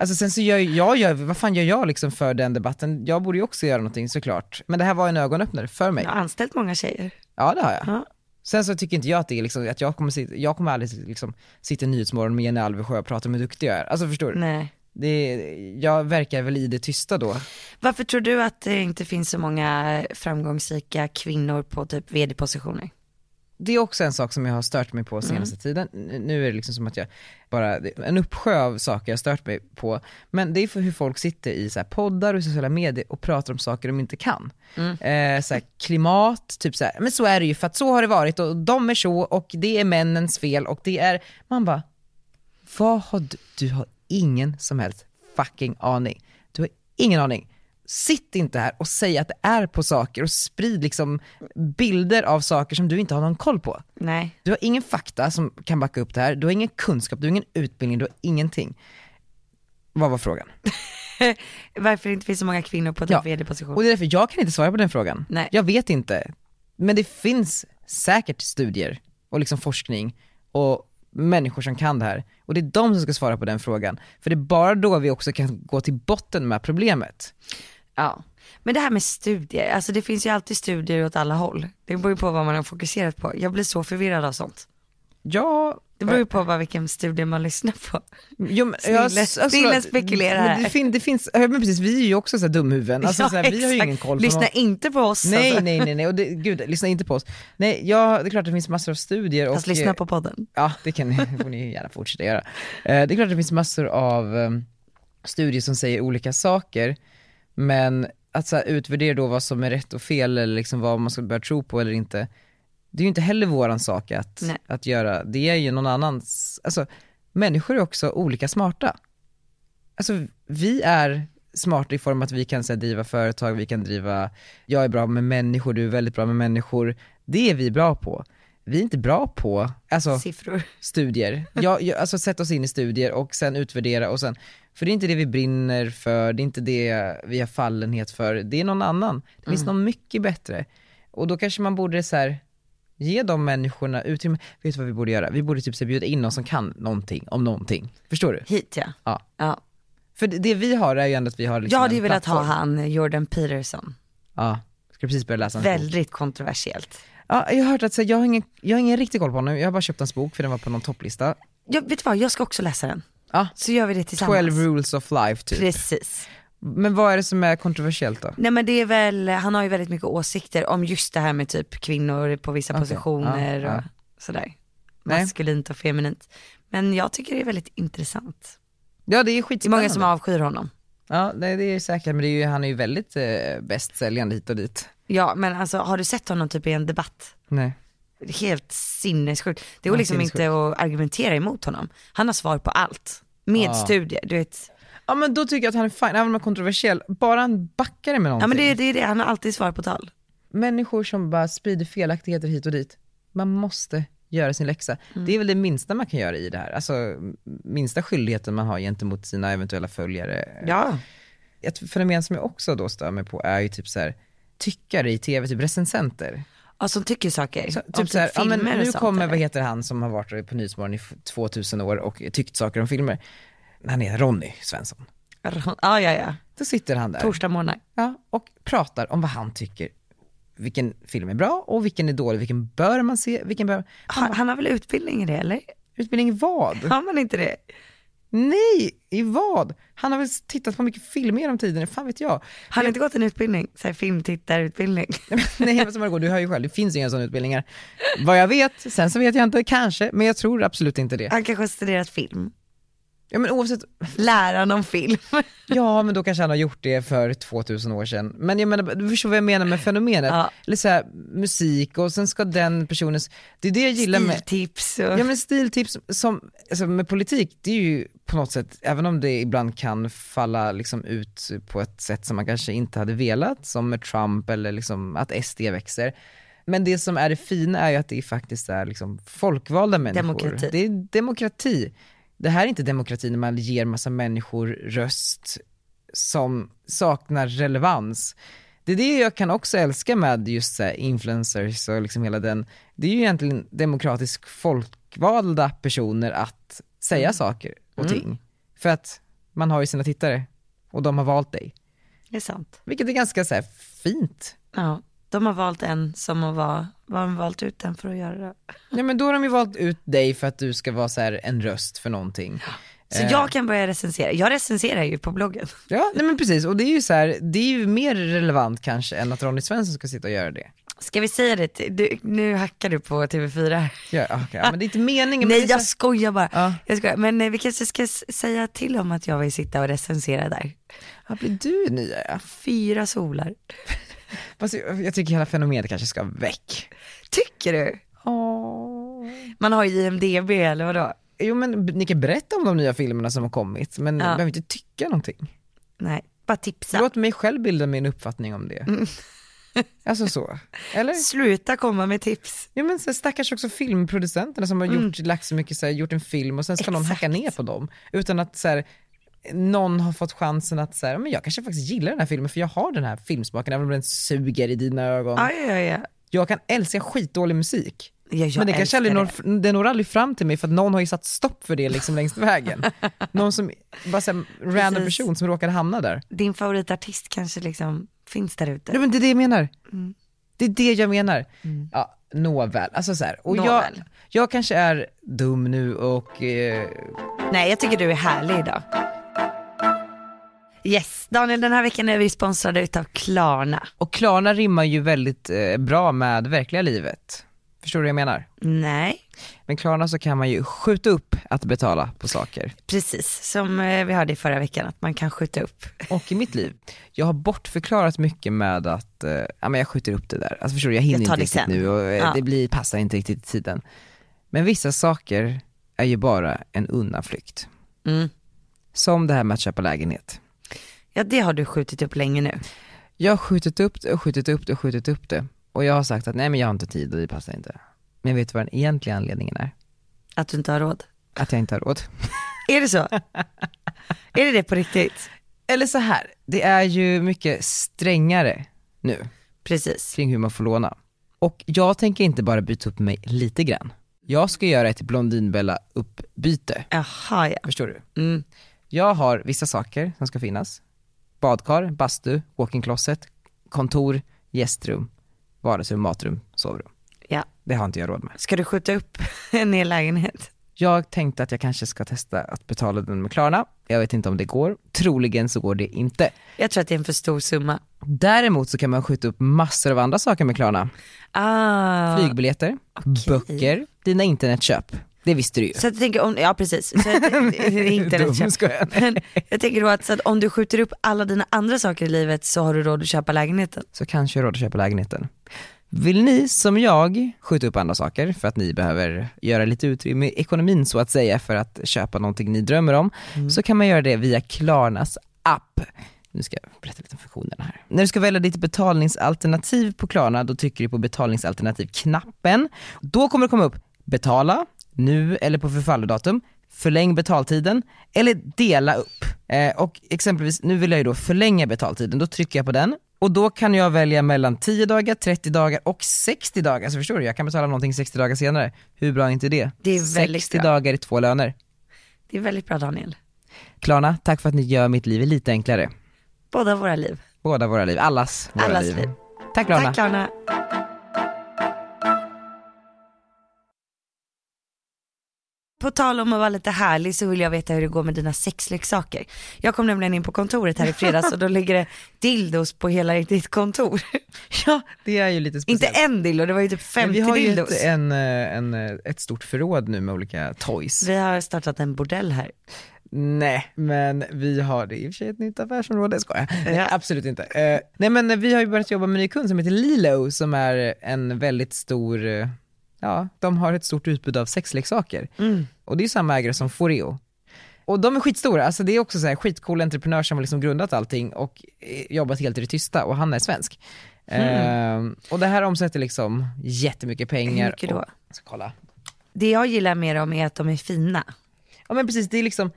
A: Alltså sen så gör jag, gör, vad fan gör jag liksom för den debatten? Jag borde ju också göra någonting såklart. Men det här var en ögonöppnare för mig.
B: Jag har anställt många tjejer.
A: Ja det har jag.
B: Ja.
A: Sen så tycker inte jag att det är liksom, att jag kommer, sitta, jag kommer aldrig liksom sitta i Nyhetsmorgon med Jenny Alvesjö och prata om hur duktig jag är. Alltså förstår du?
B: Nej.
A: Det, jag verkar väl i det tysta då.
B: Varför tror du att det inte finns så många framgångsrika kvinnor på typ vd-positioner?
A: Det är också en sak som jag har stört mig på senaste tiden. N- Nu är det liksom som att jag bara, en uppsjö av saker jag har stört mig på. Men det är för hur folk sitter i så här poddar och sociala medier och pratar om saker de inte kan. Eh, så här klimat, typ så här, men så är det ju för att så har det varit och de är så och det är männens fel och det är, man bara, Vad har du, du har ingen som helst fucking aning. Du har ingen aning. Sitt inte här och säg att det är på saker och sprid liksom bilder av saker som du inte har någon koll på.
B: Nej.
A: Du har ingen fakta som kan backa upp det här, du har ingen kunskap, du har ingen utbildning, du har ingenting. Vad var frågan?
B: Mm. Varför det inte finns så många kvinnor på typ
A: Ja. Och
B: vd-positioner?
A: det är därför jag kan inte svara på den frågan.
B: Nej.
A: Jag vet inte. Men det finns säkert studier och liksom forskning och människor som kan det här. Och det är de som ska svara på den frågan. För det är bara då vi också kan gå till botten med problemet.
B: Ja. Men det här med studier, alltså det finns ju alltid studier åt alla håll. Det beror ju på vad man har fokuserat på. Jag blir så förvirrad av sånt.
A: Ja,
B: Det beror ju på bara vilken studie man lyssnar på.
A: Jo, men,
B: Snille-
A: ja, s- alltså,
B: snille spekulerar
A: men Det,
B: här.
A: fin, det finns, ja, men precis, vi är ju också så här dumhuvuden. Alltså,
B: Ja,
A: så här, vi har ju
B: exakt.
A: ingen koll. på
B: Lyssna
A: någon-
B: inte på oss.
A: Nej,
B: alltså.
A: nej, nej, nej. Och det, gud, lyssna inte på oss. Nej, ja, det är klart det finns massor av studier.
B: Fast
A: och,
B: lyssna på podden.
A: Ja, det kan ni, det får ni gärna fortsätta göra. Eh, Det är klart att det finns massor av eh, studier som säger olika saker, men att så här, utvärdera då vad som är rätt och fel eller liksom vad man ska börja tro på eller inte, det är ju inte heller våran sak att,
B: Nej.
A: att göra. Det är ju någon annans, alltså människor är också olika smarta. Alltså vi är smarta i form att vi kan så här, driva företag, vi kan driva, jag är bra med människor, du är väldigt bra med människor. Det är vi bra på. vi är inte bra på alltså,
B: Siffror.
A: studier. Jag, jag, alltså sätta oss in i studier och sen utvärdera och sen, för det är inte det vi brinner för, det är inte det vi har fallenhet för, det är någon annan. Det finns någon mycket bättre. Och då kanske man borde så här, ge de människorna utrymme. Vet du vad vi borde göra? Vi borde typ så här bjuda in någon som kan någonting om någonting. Förstår du?
B: Hit ja.
A: Ja.
B: ja.
A: För det, det vi har är ju ändå att vi har liksom
B: Jag hade ju
A: en
B: velat ha
A: plattform.
B: han Jordan Peterson.
A: Ja, ska precis börja läsa hans bok.
B: Väldigt kontroversiellt.
A: Ja, jag har hört att så här, jag, har ingen, jag har ingen riktig koll på honom, jag har bara köpt hans bok för den var på någon topplista.
B: Jag, vet du vad, jag ska också läsa den.
A: Ja,
B: Så gör vi det tillsammans.
A: 12 rules of life typ.
B: Precis.
A: Men vad är det som är kontroversiellt då?
B: Nej men det är väl, han har ju väldigt mycket åsikter om just det här med typ kvinnor på vissa positioner
A: ja,
B: och
A: ja.
B: sådär.
A: Nej.
B: Maskulint och feminint. Men jag tycker det är väldigt intressant.
A: Ja det är
B: Det är
A: skitspännande.
B: många som avskyr honom.
A: Ja nej, det är säkert, men det är ju, han är ju väldigt eh, bästsäljande hit och dit.
B: Ja men alltså har du sett honom typ i en debatt?
A: Nej.
B: Helt sinnessjukt. Det går
A: Ja,
B: liksom
A: sinnessjukt. Ah.
B: inte att argumentera emot honom. Han har svar på allt. Med
A: Ja.
B: studier, du vet.
A: Ja men då tycker jag att han är fin, även om han är kontroversiell, bara han backar det med
B: Ja men
A: någonting.
B: det, det är det, han har alltid svar på tal.
A: Människor som bara sprider felaktigheter hit och dit, man måste göra sin läxa.
B: Mm.
A: Det är väl det minsta man kan göra i det här, alltså m- minsta skyldigheten man har gentemot sina eventuella följare.
B: Ja.
A: Ett fenomen som jag också då stör mig på är ju typ så här tyckare i tv, typ recensenter.
B: Ja som tycker saker.
A: Så,
B: Om
A: typ såhär, ja, men
B: filmer och
A: nu
B: sånt,
A: kommer,
B: eller?
A: vad heter han som har varit på Nyhetsmorgon i f- 2000 år och tyckt saker om filmer? Han heter Ronny Svensson.
B: Ja ja ja,
A: Då sitter han där
B: torsdag morgnar.
A: ja, och pratar om vad han tycker, vilken film är bra och vilken är dålig, vilken bör man se, vilken bör...
B: Han, han har väl utbildning i det eller?
A: Utbildning i vad?
B: Har man inte det?
A: Nej, i vad? Han har väl tittat på mycket filmer genom tiden, fan vet jag.
B: Har han inte gått en utbildning? Så här filmtittarutbildning?
A: Nej men som det går, du hör ju själv, det finns ju inga sådana utbildningar. Vad jag vet, sen så vet jag inte, kanske, men jag tror absolut inte det.
B: Han kanske har studerat film?
A: Ja men oavsett,
B: Läran om film?
A: Ja, men då kanske han har gjort det för 2000 år sedan. Men jag menar, du förstår vad jag menar med fenomenet.
B: Ja.
A: Eller så här, musik och sen ska den personens, det är det jag gillar med,
B: Stiltips och...
A: ja men stiltips som, alltså med politik, det är ju på något sätt, även om det ibland kan falla liksom ut på ett sätt som man kanske inte hade velat, som med Trump eller liksom att SD växer. Men det som är det fina är ju att det faktiskt är liksom folkvalda människor.
B: Demokrati.
A: Det är demokrati. Det här är inte demokrati när man ger massa människor röst som saknar relevans. Det är det jag kan också älska med just så här influencers och liksom hela den, det är ju egentligen demokratiskt folkvalda personer att säga saker och ting. För att man har ju sina tittare och de har valt dig.
B: Det är sant.
A: Vilket är ganska så här fint.
B: Ja. De har valt en som att vara, vad har de valt ut den för att göra det?
A: Ja men då har de ju valt ut dig för att du ska vara så här en röst för någonting.
B: Så
A: Eh.
B: jag kan börja recensera. Jag recenserar ju på bloggen.
A: Ja, nej men precis. Och det är ju så här, det är ju mer relevant kanske än att Ronny Svensson ska sitta och göra det.
B: Ska vi säga det till, du, nu hackar du på TV4 här.
A: Ja, okej. Ja, Men det är inte meningen.
B: Nej
A: men det är
B: jag
A: så...
B: skojar bara.
A: Ja.
B: Jag skojar. Men eh, vi kanske ska s- säga till om att jag vill sitta och recensera där.
A: ja, blir du nya ja.
B: Fyra solar.
A: Fast jag, jag tycker hela fenomenet kanske ska väck.
B: Tycker du?
A: Åh.
B: Man har ju IMDB eller vadå?
A: Jo men b- ni kan berätta om de nya filmerna som har kommit, men ni
B: Ja.
A: behöver inte tycka någonting.
B: Nej, bara tipsa.
A: Låt mig själv bilda min uppfattning om det. Alltså så. Eller?
B: Sluta komma med tips.
A: Ja men så stackars också filmproducenterna som har
B: Mm.
A: gjort, lagt så mycket, så här, gjort en film och sen ska någon hacka ner på dem. Utan att så här, någon har fått chansen att så här, men jag kanske faktiskt gillar den här filmen för jag har den här filmsmaken även om den suger i dina ögon.
B: Ja, ja, ja.
A: Jag kan älska skitdålig musik.
B: Ja, jag
A: men det kanske
B: älskar
A: aldrig
B: det.
A: når, det når aldrig fram till mig för att någon har ju satt stopp för det liksom längs vägen. Någon som, bara så här, random
B: Precis.
A: person som råkade hamna där.
B: Din favoritartist kanske liksom finns där ute.
A: Ja, men det är det jag menar. Det är det jag menar. Ja, nåväl. Alltså så här. Och jag,
B: Nåväl.
A: jag kanske är dum nu och... Eh,
B: Nej, jag tycker du är härlig idag. Yes, Daniel, den här veckan är vi sponsrade utav Klarna.
A: och Klarna rimmar ju väldigt eh, bra med verkliga livet. Förstår du vad jag menar?
B: Nej,
A: Med Klarna så kan man ju skjuta upp att betala på saker.
B: precis som eh, vi hörde i förra veckan att man kan skjuta upp.
A: Och i mitt liv, jag har bortförklarat mycket med att eh, ja, men jag skjuter upp det där. Alltså förstår du, jag hinner
B: Jag tar
A: inte
B: det
A: riktigt
B: sen.
A: nu och eh,
B: Ja.
A: det blir, passar inte riktigt i tiden. Men vissa saker är ju bara en undanflykt.
B: Mm.
A: Som det här med att köpa lägenhet.
B: Ja, det har du skjutit upp länge nu.
A: Jag har skjutit upp det och skjutit upp det och skjutit upp det. Och jag har sagt att nej men jag har inte tid och det passar inte. Men vet du vad den egentliga anledningen är?
B: Att du inte har råd.
A: Att jag inte har råd.
B: Är det så? är det det på riktigt?
A: Eller så här, det är ju mycket strängare nu
B: Precis.
A: kring hur man får låna. Och jag tänker inte bara byta upp mig lite grann. Jag ska göra ett Blondinbella uppbyte,
B: Jaha ja.
A: förstår du?
B: Mm.
A: Jag har vissa saker som ska finnas. Badkar, bastu, walk-in closet, kontor, gästrum, vardagsrum, matrum, sovrum.
B: ja.
A: Det har inte jag råd med.
B: Ska du skjuta upp en hel lägenhet?
A: Jag tänkte att jag kanske ska testa att betala den med Klarna. Jag vet inte om det går. Troligen så går det inte.
B: Jag tror att det är en för stor summa.
A: Däremot så kan man skjuta upp massor av andra saker med Klarna.
B: Ah.
A: Flygbiljetter, böcker, dina internetköp. Det visste du ju.
B: Så att jag tänker om, ja precis. Så att, det är inte
A: Dum,
B: rätt köp.
A: skojar.
B: Men jag tänker då att, så att om du skjuter upp alla dina andra saker i livet så har du råd att köpa lägenheten.
A: Så kanske jag har råd att köpa lägenheten. Vill ni som jag skjuta upp andra saker för att ni behöver göra lite utrymme i ekonomin så att säga för att köpa någonting ni drömmer om
B: Mm.
A: så kan man göra det via Klarnas app. Nu ska jag berätta lite om funktionerna här. När du ska välja ditt betalningsalternativ på Klarna då trycker du på betalningsalternativ-knappen. Då kommer det komma upp betala, nu eller på förfallodatum, förläng betaltiden eller dela upp. Eh, och exempelvis, nu vill jag ju då förlänga betaltiden, då trycker jag på den och då kan jag välja mellan 10 dagar, 30 dagar och 60 dagar. Så förstår du, jag kan betala någonting 60 dagar senare. Hur bra är inte det?
B: Det är väldigt
A: 60
B: bra.
A: dagar i två löner.
B: Det är väldigt bra Daniel.
A: Klarna, tack för att ni gör mitt liv lite enklare.
B: Båda våra liv.
A: Båda våra liv, allas våra
B: Allas
A: liv.
B: liv.
A: Tack Klarna.
B: Tack Klarna. På tal om att vara lite härlig så vill jag veta hur det går med dina sexleksaker. Jag kom nämligen in på kontoret här i fredags och då ligger det dildos på hela ditt kontor.
A: Ja, det är ju lite speciellt.
B: Inte en dildo, det var ju typ 50
A: vi har ju
B: dildos.
A: ett, en, eh, en, eh, ett stort förråd nu med olika toys.
B: Vi har startat en bordell här.
A: Nej, men vi har det i och för sig ett nytt affärsområde, skojar. Nej, absolut inte. Eh, nej men eh, vi har ju börjat jobba med en ny kund som heter Lilo som är en väldigt stor, eh, ja de har ett stort utbud av sexleksaker.
B: Mm.
A: Och det är ju samma ägare som Foreo. Och de är skitstora, alltså det är också så här skitcool entreprenör som har liksom grundat allting och eh, jobbat helt i det tysta och han är svensk.
B: Mm.
A: Eh, och det här omsätter liksom jättemycket pengar.
B: Hur mycket då?
A: Och, jag ska kolla.
B: Det jag gillar med dem är att de är fina.
A: Ja men precis, det är liksom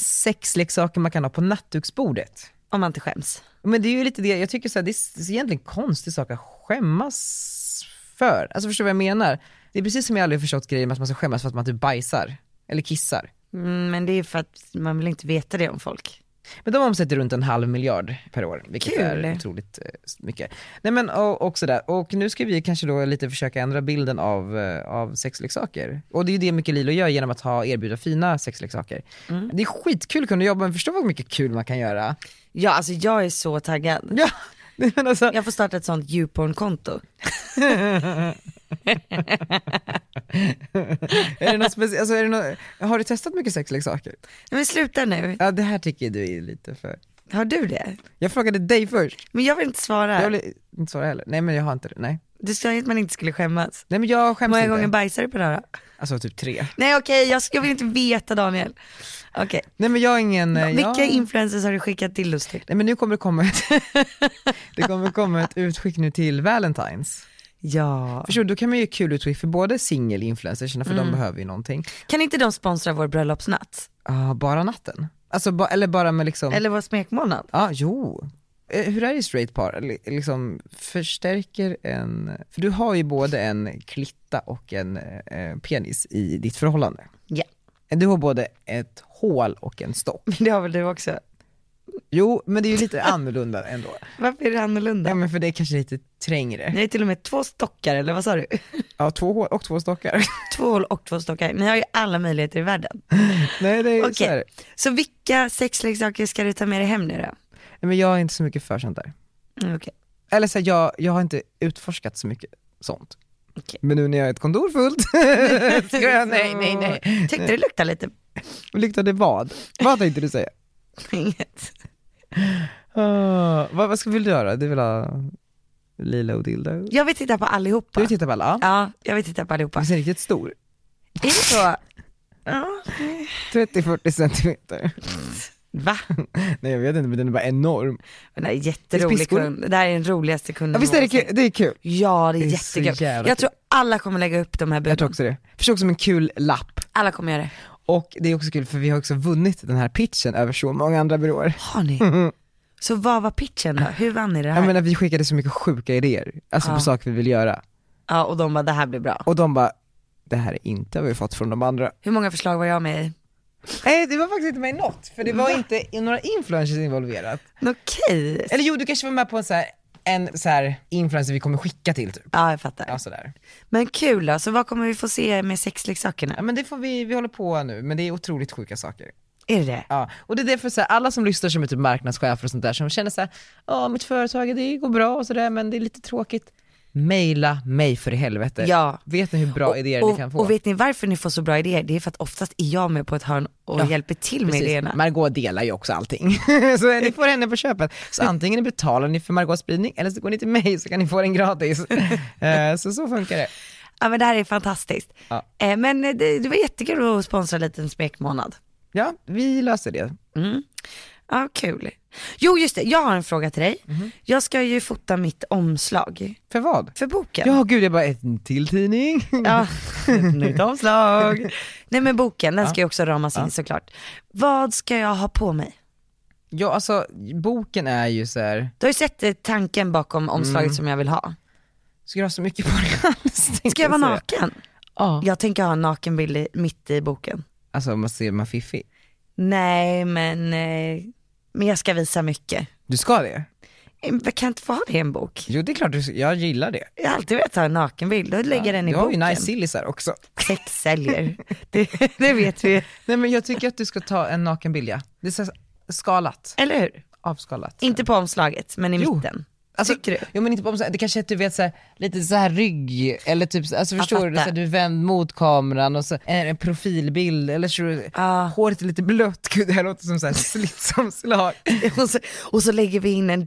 A: sexleksaker man kan ha på nattduksbordet.
B: Om man inte skäms.
A: Men det är ju lite det, jag tycker så här, det är s- egentligen konstig sak att skämmas för. Alltså förstår du vad jag menar? Det är precis som jag aldrig har förstått grejen med att man ska skämmas för att man typ bajsar, eller kissar.
B: Mm, men det är för att man vill inte veta det om folk.
A: Men de omsätter runt en halv miljard per år, vilket
B: Kul.
A: är otroligt eh, mycket. Nej men och, och sådär, och nu ska vi kanske då lite försöka ändra bilden av, eh, av sexleksaker. Och det är ju det mycket Lilo gör genom att ha, erbjuda fina sexleksaker. Det är skitkul att kunna jobba med, förstå vad mycket kul man kan göra.
B: Ja, alltså jag är så taggad.
A: Ja, nej, men alltså,
B: Jag får starta ett sånt youporn-konto.
A: är det något speci- alltså, är det något, har du testat mycket sexleksaker?
B: Nej, Men sluta nu,
A: Ja det här tycker du är lite för...
B: har du det?
A: Jag frågade dig först,
B: Men jag vill inte svara.
A: jag vill inte svara heller. Nej men jag har inte det, nej.
B: Du sa ju att man inte skulle skämmas.
A: Nej men jag
B: Hur
A: skäms
B: många
A: inte.
B: gånger bajsar du på det här? då?
A: Alltså typ tre.
B: Nej okej, jag, jag vill inte veta Daniel. Okej,
A: Nej men jag har ingen... eh,
B: vilka
A: jag...
B: influencers har du skickat dildos till?
A: Nej men nu kommer det komma ett, det kommer komma ett utskick nu till Valentine's.
B: Ja.
A: Förstår du, då kan man ju ge kul utskick för både singel-influencersna för de behöver ju någonting.
B: Kan inte de sponsra vår bröllopsnatt?
A: Ah, bara natten. Alltså ba, eller bara med liksom, ja
B: Eller vår smekmånad?
A: ah, jo. Eh, Hur är det i straight par? Eller, Liksom förstärker en, för du har ju både en klitta och en eh, penis i ditt förhållande.
B: Ja.
A: Du har både ett hål och en stopp.
B: Det har väl du också?
A: Jo, men det är ju lite annorlunda ändå.
B: Varför är det annorlunda?
A: Ja, men för det är kanske lite trängre.
B: Ni har ju till och med två stockar, eller vad sa du?
A: Ja, två hål och två stockar.
B: Två hål och två stockar. Ni har ju alla möjligheter i världen.
A: Nej, det är
B: Okej,
A: så här.
B: så vilka sexleksaker ska du ta med dig hem nu då?
A: Nej, men jag är inte så mycket för sånt där.
B: Mm, Okej,
A: Eller så här, jag, jag har inte utforskat så mycket sånt.
B: Okej.
A: Men nu när jag har ett kontor fullt, ska jag, nej, nej, nej.
B: tyckte det luktade lite?
A: Luktade vad? Vad tänkte du säga?
B: Inget.
A: Ah, vad, vad ska, vill du göra? Du vill ha lila och dildo? Du
B: Jag vill titta på allihopa.
A: vill titta på alla? Ja.
B: Ja, jag vill titta på allihopa.
A: Du ser riktigt stor.
B: Är det så? Ja.
A: 30-40 centimeter.
B: Va?
A: Nej jag vet inte men den är bara enorm.
B: Den här är
A: Det är
B: jätterolig
A: piskor.
B: kund. Det här är den roligaste kunden
A: Ja, visst är det
B: någonsin.
A: kul? Det är kul.
B: Ja det är,
A: Det är så
B: jättekul.
A: jävla
B: Jag tror alla kommer lägga upp de här
A: Jag tror
B: buden.
A: också det. Förstår också som en kul lapp.
B: Alla kommer göra det.
A: Och det är också kul för vi har också vunnit den här pitchen över så många andra byråer.
B: Har ni? Så vad var pitchen då? Hur vann ni det här?
A: Jag menar vi skickade så mycket sjuka idéer, alltså
B: Ja.
A: på saker vi vill göra.
B: Ja och de bara det här blir bra.
A: Och de bara, det här är inte vad vi fått från de andra.
B: Hur många förslag var jag med i?
A: Nej det var faktiskt inte med i något, för det var inte i- några influencers involverat.
B: Okej.
A: Eller jo, du kanske var med på en så här, en så här influencer vi kommer skicka till typ.
B: Ja jag fattar.
A: Ja, sådär.
B: Men kul då, så vad kommer vi få se med
A: ja
B: sexleksakerna?
A: men det får vi, vi håller på nu, men det är otroligt sjuka saker.
B: Är det det?
A: Ja, och det är därför så här, alla som lyssnar som är typ marknadschefer och sånt där, som känner så här, ja mitt företag det går bra och sådär men det är lite tråkigt. Maila mig för i helvete.
B: Ja.
A: Vet ni hur bra idéer
B: och,
A: ni kan få?
B: Och vet ni varför ni får så bra idéer? Det är för att oftast är jag med på ett hörn och hjälper till med
A: Precis.
B: idéerna.
A: Margot delar ju också allting. så ni får henne på köpet. Så
B: Mm.
A: antingen betalar ni för Margots spridning eller så går ni till mig så kan ni få den gratis. Eh, så så funkar det.
B: Ja men det här är fantastiskt.
A: Ja.
B: Eh, men eh, det, det var jättekul att sponsra en liten smekmånad.
A: Ja, vi löser det.
B: Ja, kul. Jo just det, jag har en fråga till dig.
A: Mhm.
B: Jag ska ju fota mitt omslag
A: För vad?
B: för boken.
A: Ja gud, jag bara, en till tidning?
B: Ja, ett nytt omslag. Nej men boken, den ska ju också ramas in såklart. Vad ska jag ha på mig?
A: ja alltså, boken är ju så här.
B: Du har ju sett eh, tanken bakom omslaget som jag vill ha.
A: Mm. ska du ha så mycket på dig alls?
B: Ska jag vara
A: säga.
B: naken?
A: Ja.
B: Jag tänker ha en nakenbild i, mitt i boken.
A: Alltså man ser man fiffig.
B: Nej men, eh, men jag ska visa mycket.
A: Du ska det?
B: Eh, Jag kan inte få ha det i en bok.
A: Jo det är klart, du, jag gillar det.
B: Jag har alltid velat ha en nakenbild, då lägger jag den i
A: du har ju
B: boken.
A: nice sillisar också.
B: Sex säljer, det, det vet vi.
A: Nej men jag tycker att du ska ta en nakenbild ja. Det är så här skalat,
B: Eller hur?
A: avskalat.
B: Inte på omslaget, men i
A: Jo.
B: mitten.
A: Alltså,
B: Tycker du?
A: Jo men inte på omslaget, det kanske är att du vet så här, lite så här rygg, eller typ så- alltså förstår du,
B: fattar.
A: så här, du är vänd mot kameran och så är det en profilbild, eller så
B: Ah.
A: håret är lite blött, gud det här låter som så här slitsomslag.
B: Och så, och så lägger vi in en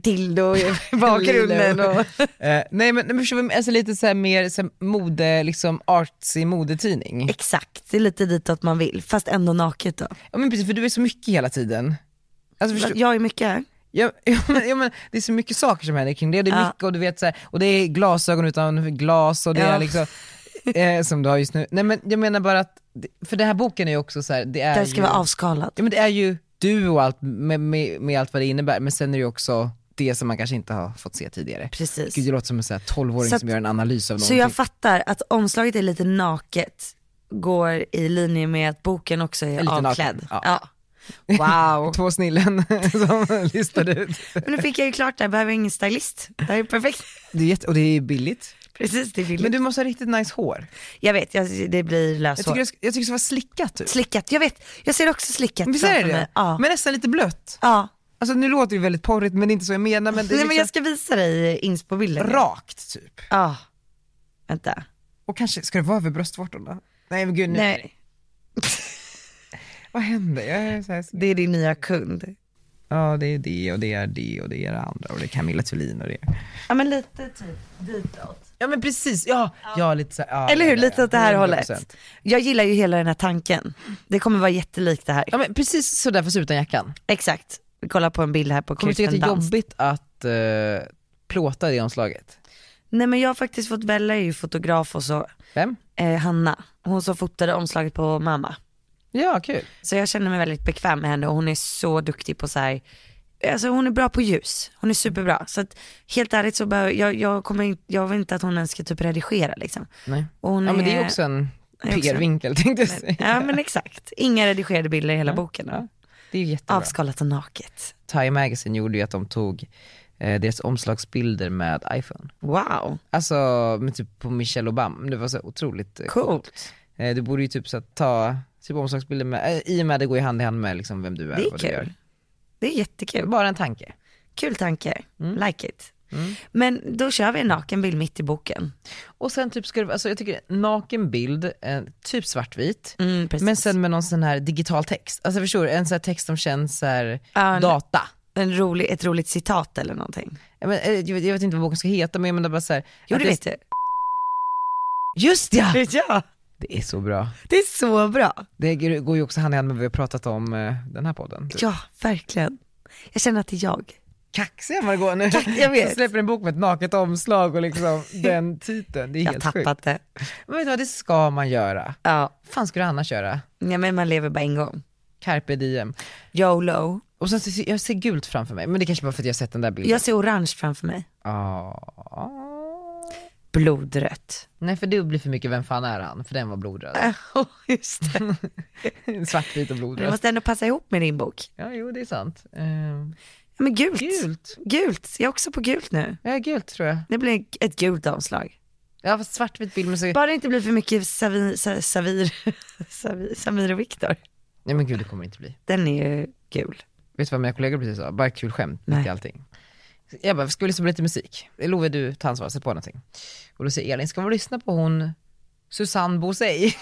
B: dildo i bakgrunden.
A: Lilo.
B: Och,
A: Eh, nej men, men förstår du, alltså lite så här mer så här mode, liksom artsy modetidning.
B: exakt, det är lite ditåt man vill, fast ändå naket då.
A: Ja men precis, för du är så mycket hela tiden. Alltså förstår,
B: Jag är mycket.
A: ja, ja, men, ja, men, det är så mycket saker som händer kring det, det är
B: Ja.
A: mycket och du vet så här, och det är glasögon utan glas och det
B: Ja.
A: är liksom, eh, som du har just nu. Nej men jag menar bara att, för den här boken är ju också så här, det är
B: Det här ska
A: ju,
B: vara avskalat.
A: ja, men det är ju du och allt, med, med, med allt vad det innebär, men sen är det ju också det som man kanske inte har fått se tidigare.
B: Precis.
A: Gud det låter som en så här 12-åring
B: Så att-
A: som gör en analys av
B: Så
A: någonting.
B: jag fattar att omslaget är lite naket, går i linje med att boken också är,
A: lite
B: avklädd.
A: naken, ja.
B: Ja. Wow.
A: Två snillen som listade ut.
B: Men nu fick jag ju klart det här, behöver jag ingen stylist. Det här är perfekt.
A: Det är jätte, och det är billigt.
B: Precis, det är billigt.
A: Men du måste ha riktigt nice hår.
B: Jag vet, jag, det blir
A: Jag
B: löshår.
A: tycker, det ska- jag tycker det ska vara slickat typ.
B: Slickat, jag vet. Jag ser också slickat
A: Visst är
B: framför
A: det
B: mig.
A: det?
B: Ja.
A: Men nästan lite blött.
B: ja.
A: Alltså nu låter det ju väldigt porrigt men det är inte så jag menar men det är
B: Nej,
A: liksom
B: men jag ska visa dig inspo-bilden.
A: rakt typ.
B: Ja. Vänta.
A: Och kanske, ska det vara över bröstvårtorna? Nej men gud, nu,
B: Nej,
A: vad händer? Jag är så här,
B: det är din nya kund.
A: ja det är det och det är det och det är det andra och det är Camilla Thulin och det.
B: Ja men lite typ ditåt.
A: Ja men precis, ja, ja lite så här, ja,
B: Eller
A: ja,
B: hur,
A: ja,
B: lite
A: ja.
B: åt det här
A: 100%.
B: hållet. Jag gillar ju hela den här tanken. Det kommer vara jättelikt det här.
A: Ja men precis sådär fast utan jackan.
B: Exakt. Vi kollar på en bild här på
A: Kommer du tycka att
B: Kirsten
A: det är
B: Dunst.
A: jobbigt att eh, plåta det omslaget?
B: Nej men jag har faktiskt fått, Bella är ju fotograf och så,
A: Vem?
B: eh, Hanna, hon som fotade omslaget på mamma.
A: Ja, kul.
B: Så jag känner mig väldigt bekväm med henne och hon är så duktig på så här, alltså hon är bra på ljus, hon är superbra. Så att helt ärligt så behöver, jag, jag kommer inte, jag vill inte att hon ens ska typ redigera liksom.
A: Nej.
B: Och hon
A: Ja men det är ju också en
B: är också-
A: PR-vinkel tänkte jag säga.
B: Ja men exakt, inga redigerade bilder i hela boken. då.
A: Det är ju jättebra.
B: Avskalat och naket.
A: Time Magazine gjorde ju att de tog eh, deras omslagsbilder med iPhone.
B: Wow,
A: Alltså med typ på Michelle Obama, det var så otroligt eh,
B: coolt.
A: Eh, du borde ju typ så att ta typ omslagsbilder med, eh, i och med det går ju hand i hand med liksom vem du är
B: Det
A: och
B: är
A: vad du gör.
B: kul. Det är jättekul.
A: Bara en tanke.
B: Kul tanke, like it. Men då kör vi en nakenbild mitt i boken.
A: Och sen typ skulle, alltså jag tycker naken bild, eh, typ svartvit.
B: Mm, precis.
A: Men sen med någon sån här digital text, alltså förstår du? En sån här text som känns så här
B: Ja, en-
A: data.
B: en rolig, ett roligt citat eller någonting.
A: Jag, men, eh, jag, vet- jag vet inte vad boken ska heta men jag menar bara såhär.
B: Jo det vet du.
A: Just ja!
B: Ja.
A: Det är så bra.
B: Det är så bra.
A: Det går ju också hand i hand med vad vi har pratat om eh, den här podden. Typ.
B: Ja, verkligen. Jag känner att det är jag.
A: Kaxiga Margot nu.
B: Tack, jag vet.
A: Som släpper en bok med ett naket omslag och liksom den titeln. Det är
B: Jag har
A: helt sjukt.
B: tappat det.
A: Men vet du vad, det ska man göra.
B: Ja.
A: Vad fan ska du annars göra?
B: ja, men man lever bara en gång.
A: Carpe diem.
B: YOLO.
A: Och sen så, jag ser gult framför mig, men det kanske bara för att jag har sett den där bilden.
B: Jag ser orange framför mig.
A: Ah.
B: Blodrött.
A: Nej för det blir för mycket Vem fan är han? För den var blodröd.
B: Äh, Just det.
A: Svartvit och
B: Men det
A: blodröd.
B: måste ändå passa ihop med din bok.
A: Ja jo det är sant. Ehm,
B: Ja, men gult.
A: gult.
B: Gult. Jag är också på gult nu.
A: Ja gult tror jag.
B: Det blir ett gult omslag.
A: Ja fast svartvit bild men så...
B: Bara det inte blir för mycket Savir, Sa- Savir, Savir, Samir och Viktor.
A: Nej men gud det kommer inte bli.
B: Den är ju gul.
A: Vet du vad mina kollegor precis sa? Bara kul skämt mitt
B: Nej.
A: i allting. Jag bara, ska vi lyssna på lite musik? Love du tar ansvar, sätt på någonting. Och då säger Elin, ska vi lyssna på hon Susanne Bosey?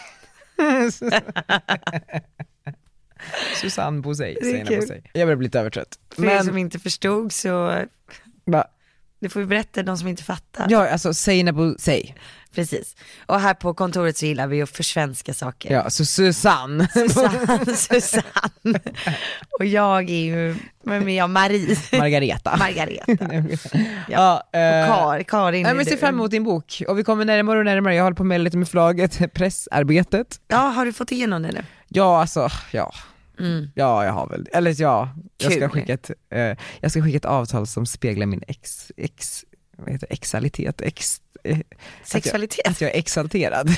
A: Susanne Bosey,
B: är
A: Sina
B: kul.
A: Bosey. Jag börjar bli lite övertrött.
B: För er som inte förstod så,
A: bara,
B: det får vi berätta de som inte fattar.
A: ja alltså Sina Bosey.
B: Precis. Och här på kontoret så gillar vi att försvenska saker.
A: Ja, så Susanne.
B: Susanne, Susanne. Och jag är ju, vem är jag, Marie?
A: Margareta.
B: Margareta.
A: ja, eh,
B: Kar, Karin
A: Nej
B: är
A: men
B: du.
A: se fram emot din bok. Och vi kommer närmare och närmare, jag håller på med lite med förlaget, pressarbetet.
B: Ja, har du fått igenom det nu?
A: Ja, alltså, ja. Ja, jag har väl Eller ja, jag ska,
B: Kul.
A: skicka ett, eh, jag ska skicka ett avtal som speglar min ex, ex, vad heter det, exalitet, ex, eh,
B: Sexualitet.
A: Att jag, att jag är exalterad.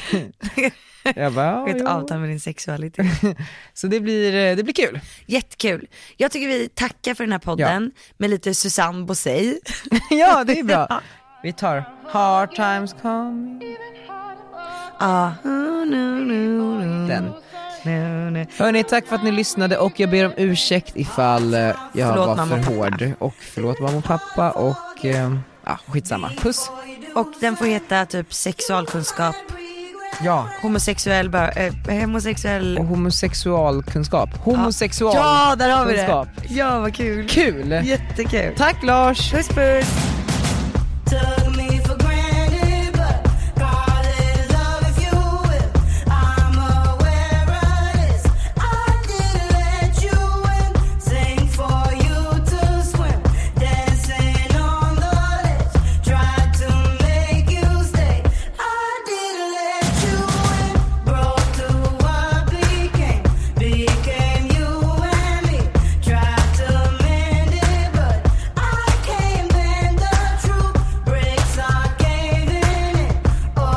A: jag bara, ja,
B: Ett
A: jo.
B: avtal med din sexualitet.
A: Så det blir, eh, det blir kul.
B: Jättekul. Jag tycker vi tackar för den här podden med lite Susanne Bosey.
A: ja, det är bra. Vi tar Hard times coming.
B: Ja. Oh, no, no, no.
A: Den.
B: No, no.
A: Hörni, tack för att ni lyssnade och jag ber om ursäkt ifall eh, jag
B: Förlåt,
A: var
B: mamma och
A: för
B: pappa.
A: hård. Och förlåt mamma och pappa och eh, ja, skitsamma. Puss.
B: Och den får heta typ sexualkunskap,
A: Ja.
B: homosexuell, bö- eh, homosexuell
A: och homosexualkunskap. Homosexual.
B: Ja, där har vi det.
A: Kunskap.
B: Ja, vad kul.
A: Kul!
B: Jättekul.
A: Tack Lars!
B: Puss puss.
G: Took me for granted, but call it love if you will. I'm aware of this. I didn't let you in. Sing for you to swim. Dancing on the ledge. Tried to make you stay. I didn't let you in. Broke to what became. Became you and me. Tried to mend it, but I can't mend the Oh,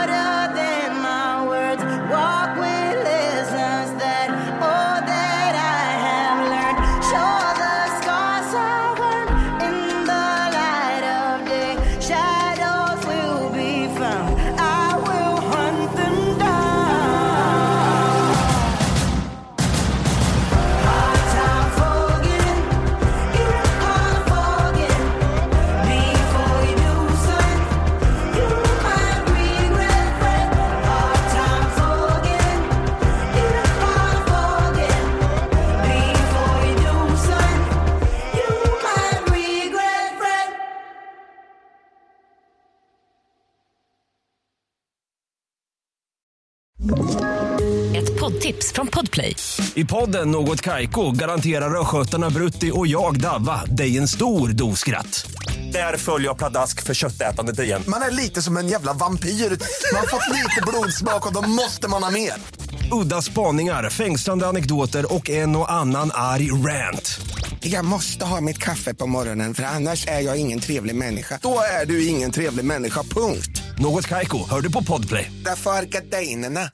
B: oh,
H: tips från Podplay.
I: I podden Något Kaiko garanterar östgötarna Brutti och jag, Davva, dig en stor dos skratt. Där följer jag pladask för köttätandet igen.
J: Man är lite som en jävla vampyr. Man har fått lite blodsmak och då måste man ha mer.
I: Udda spaningar, fängslande anekdoter och en och annan arg rant.
J: Jag måste ha mitt kaffe på morgonen för annars är jag ingen trevlig människa. Då är du ingen trevlig människa, punkt.
I: Något Kaiko, hör du på Podplay.
J: Därför arkadeinerna.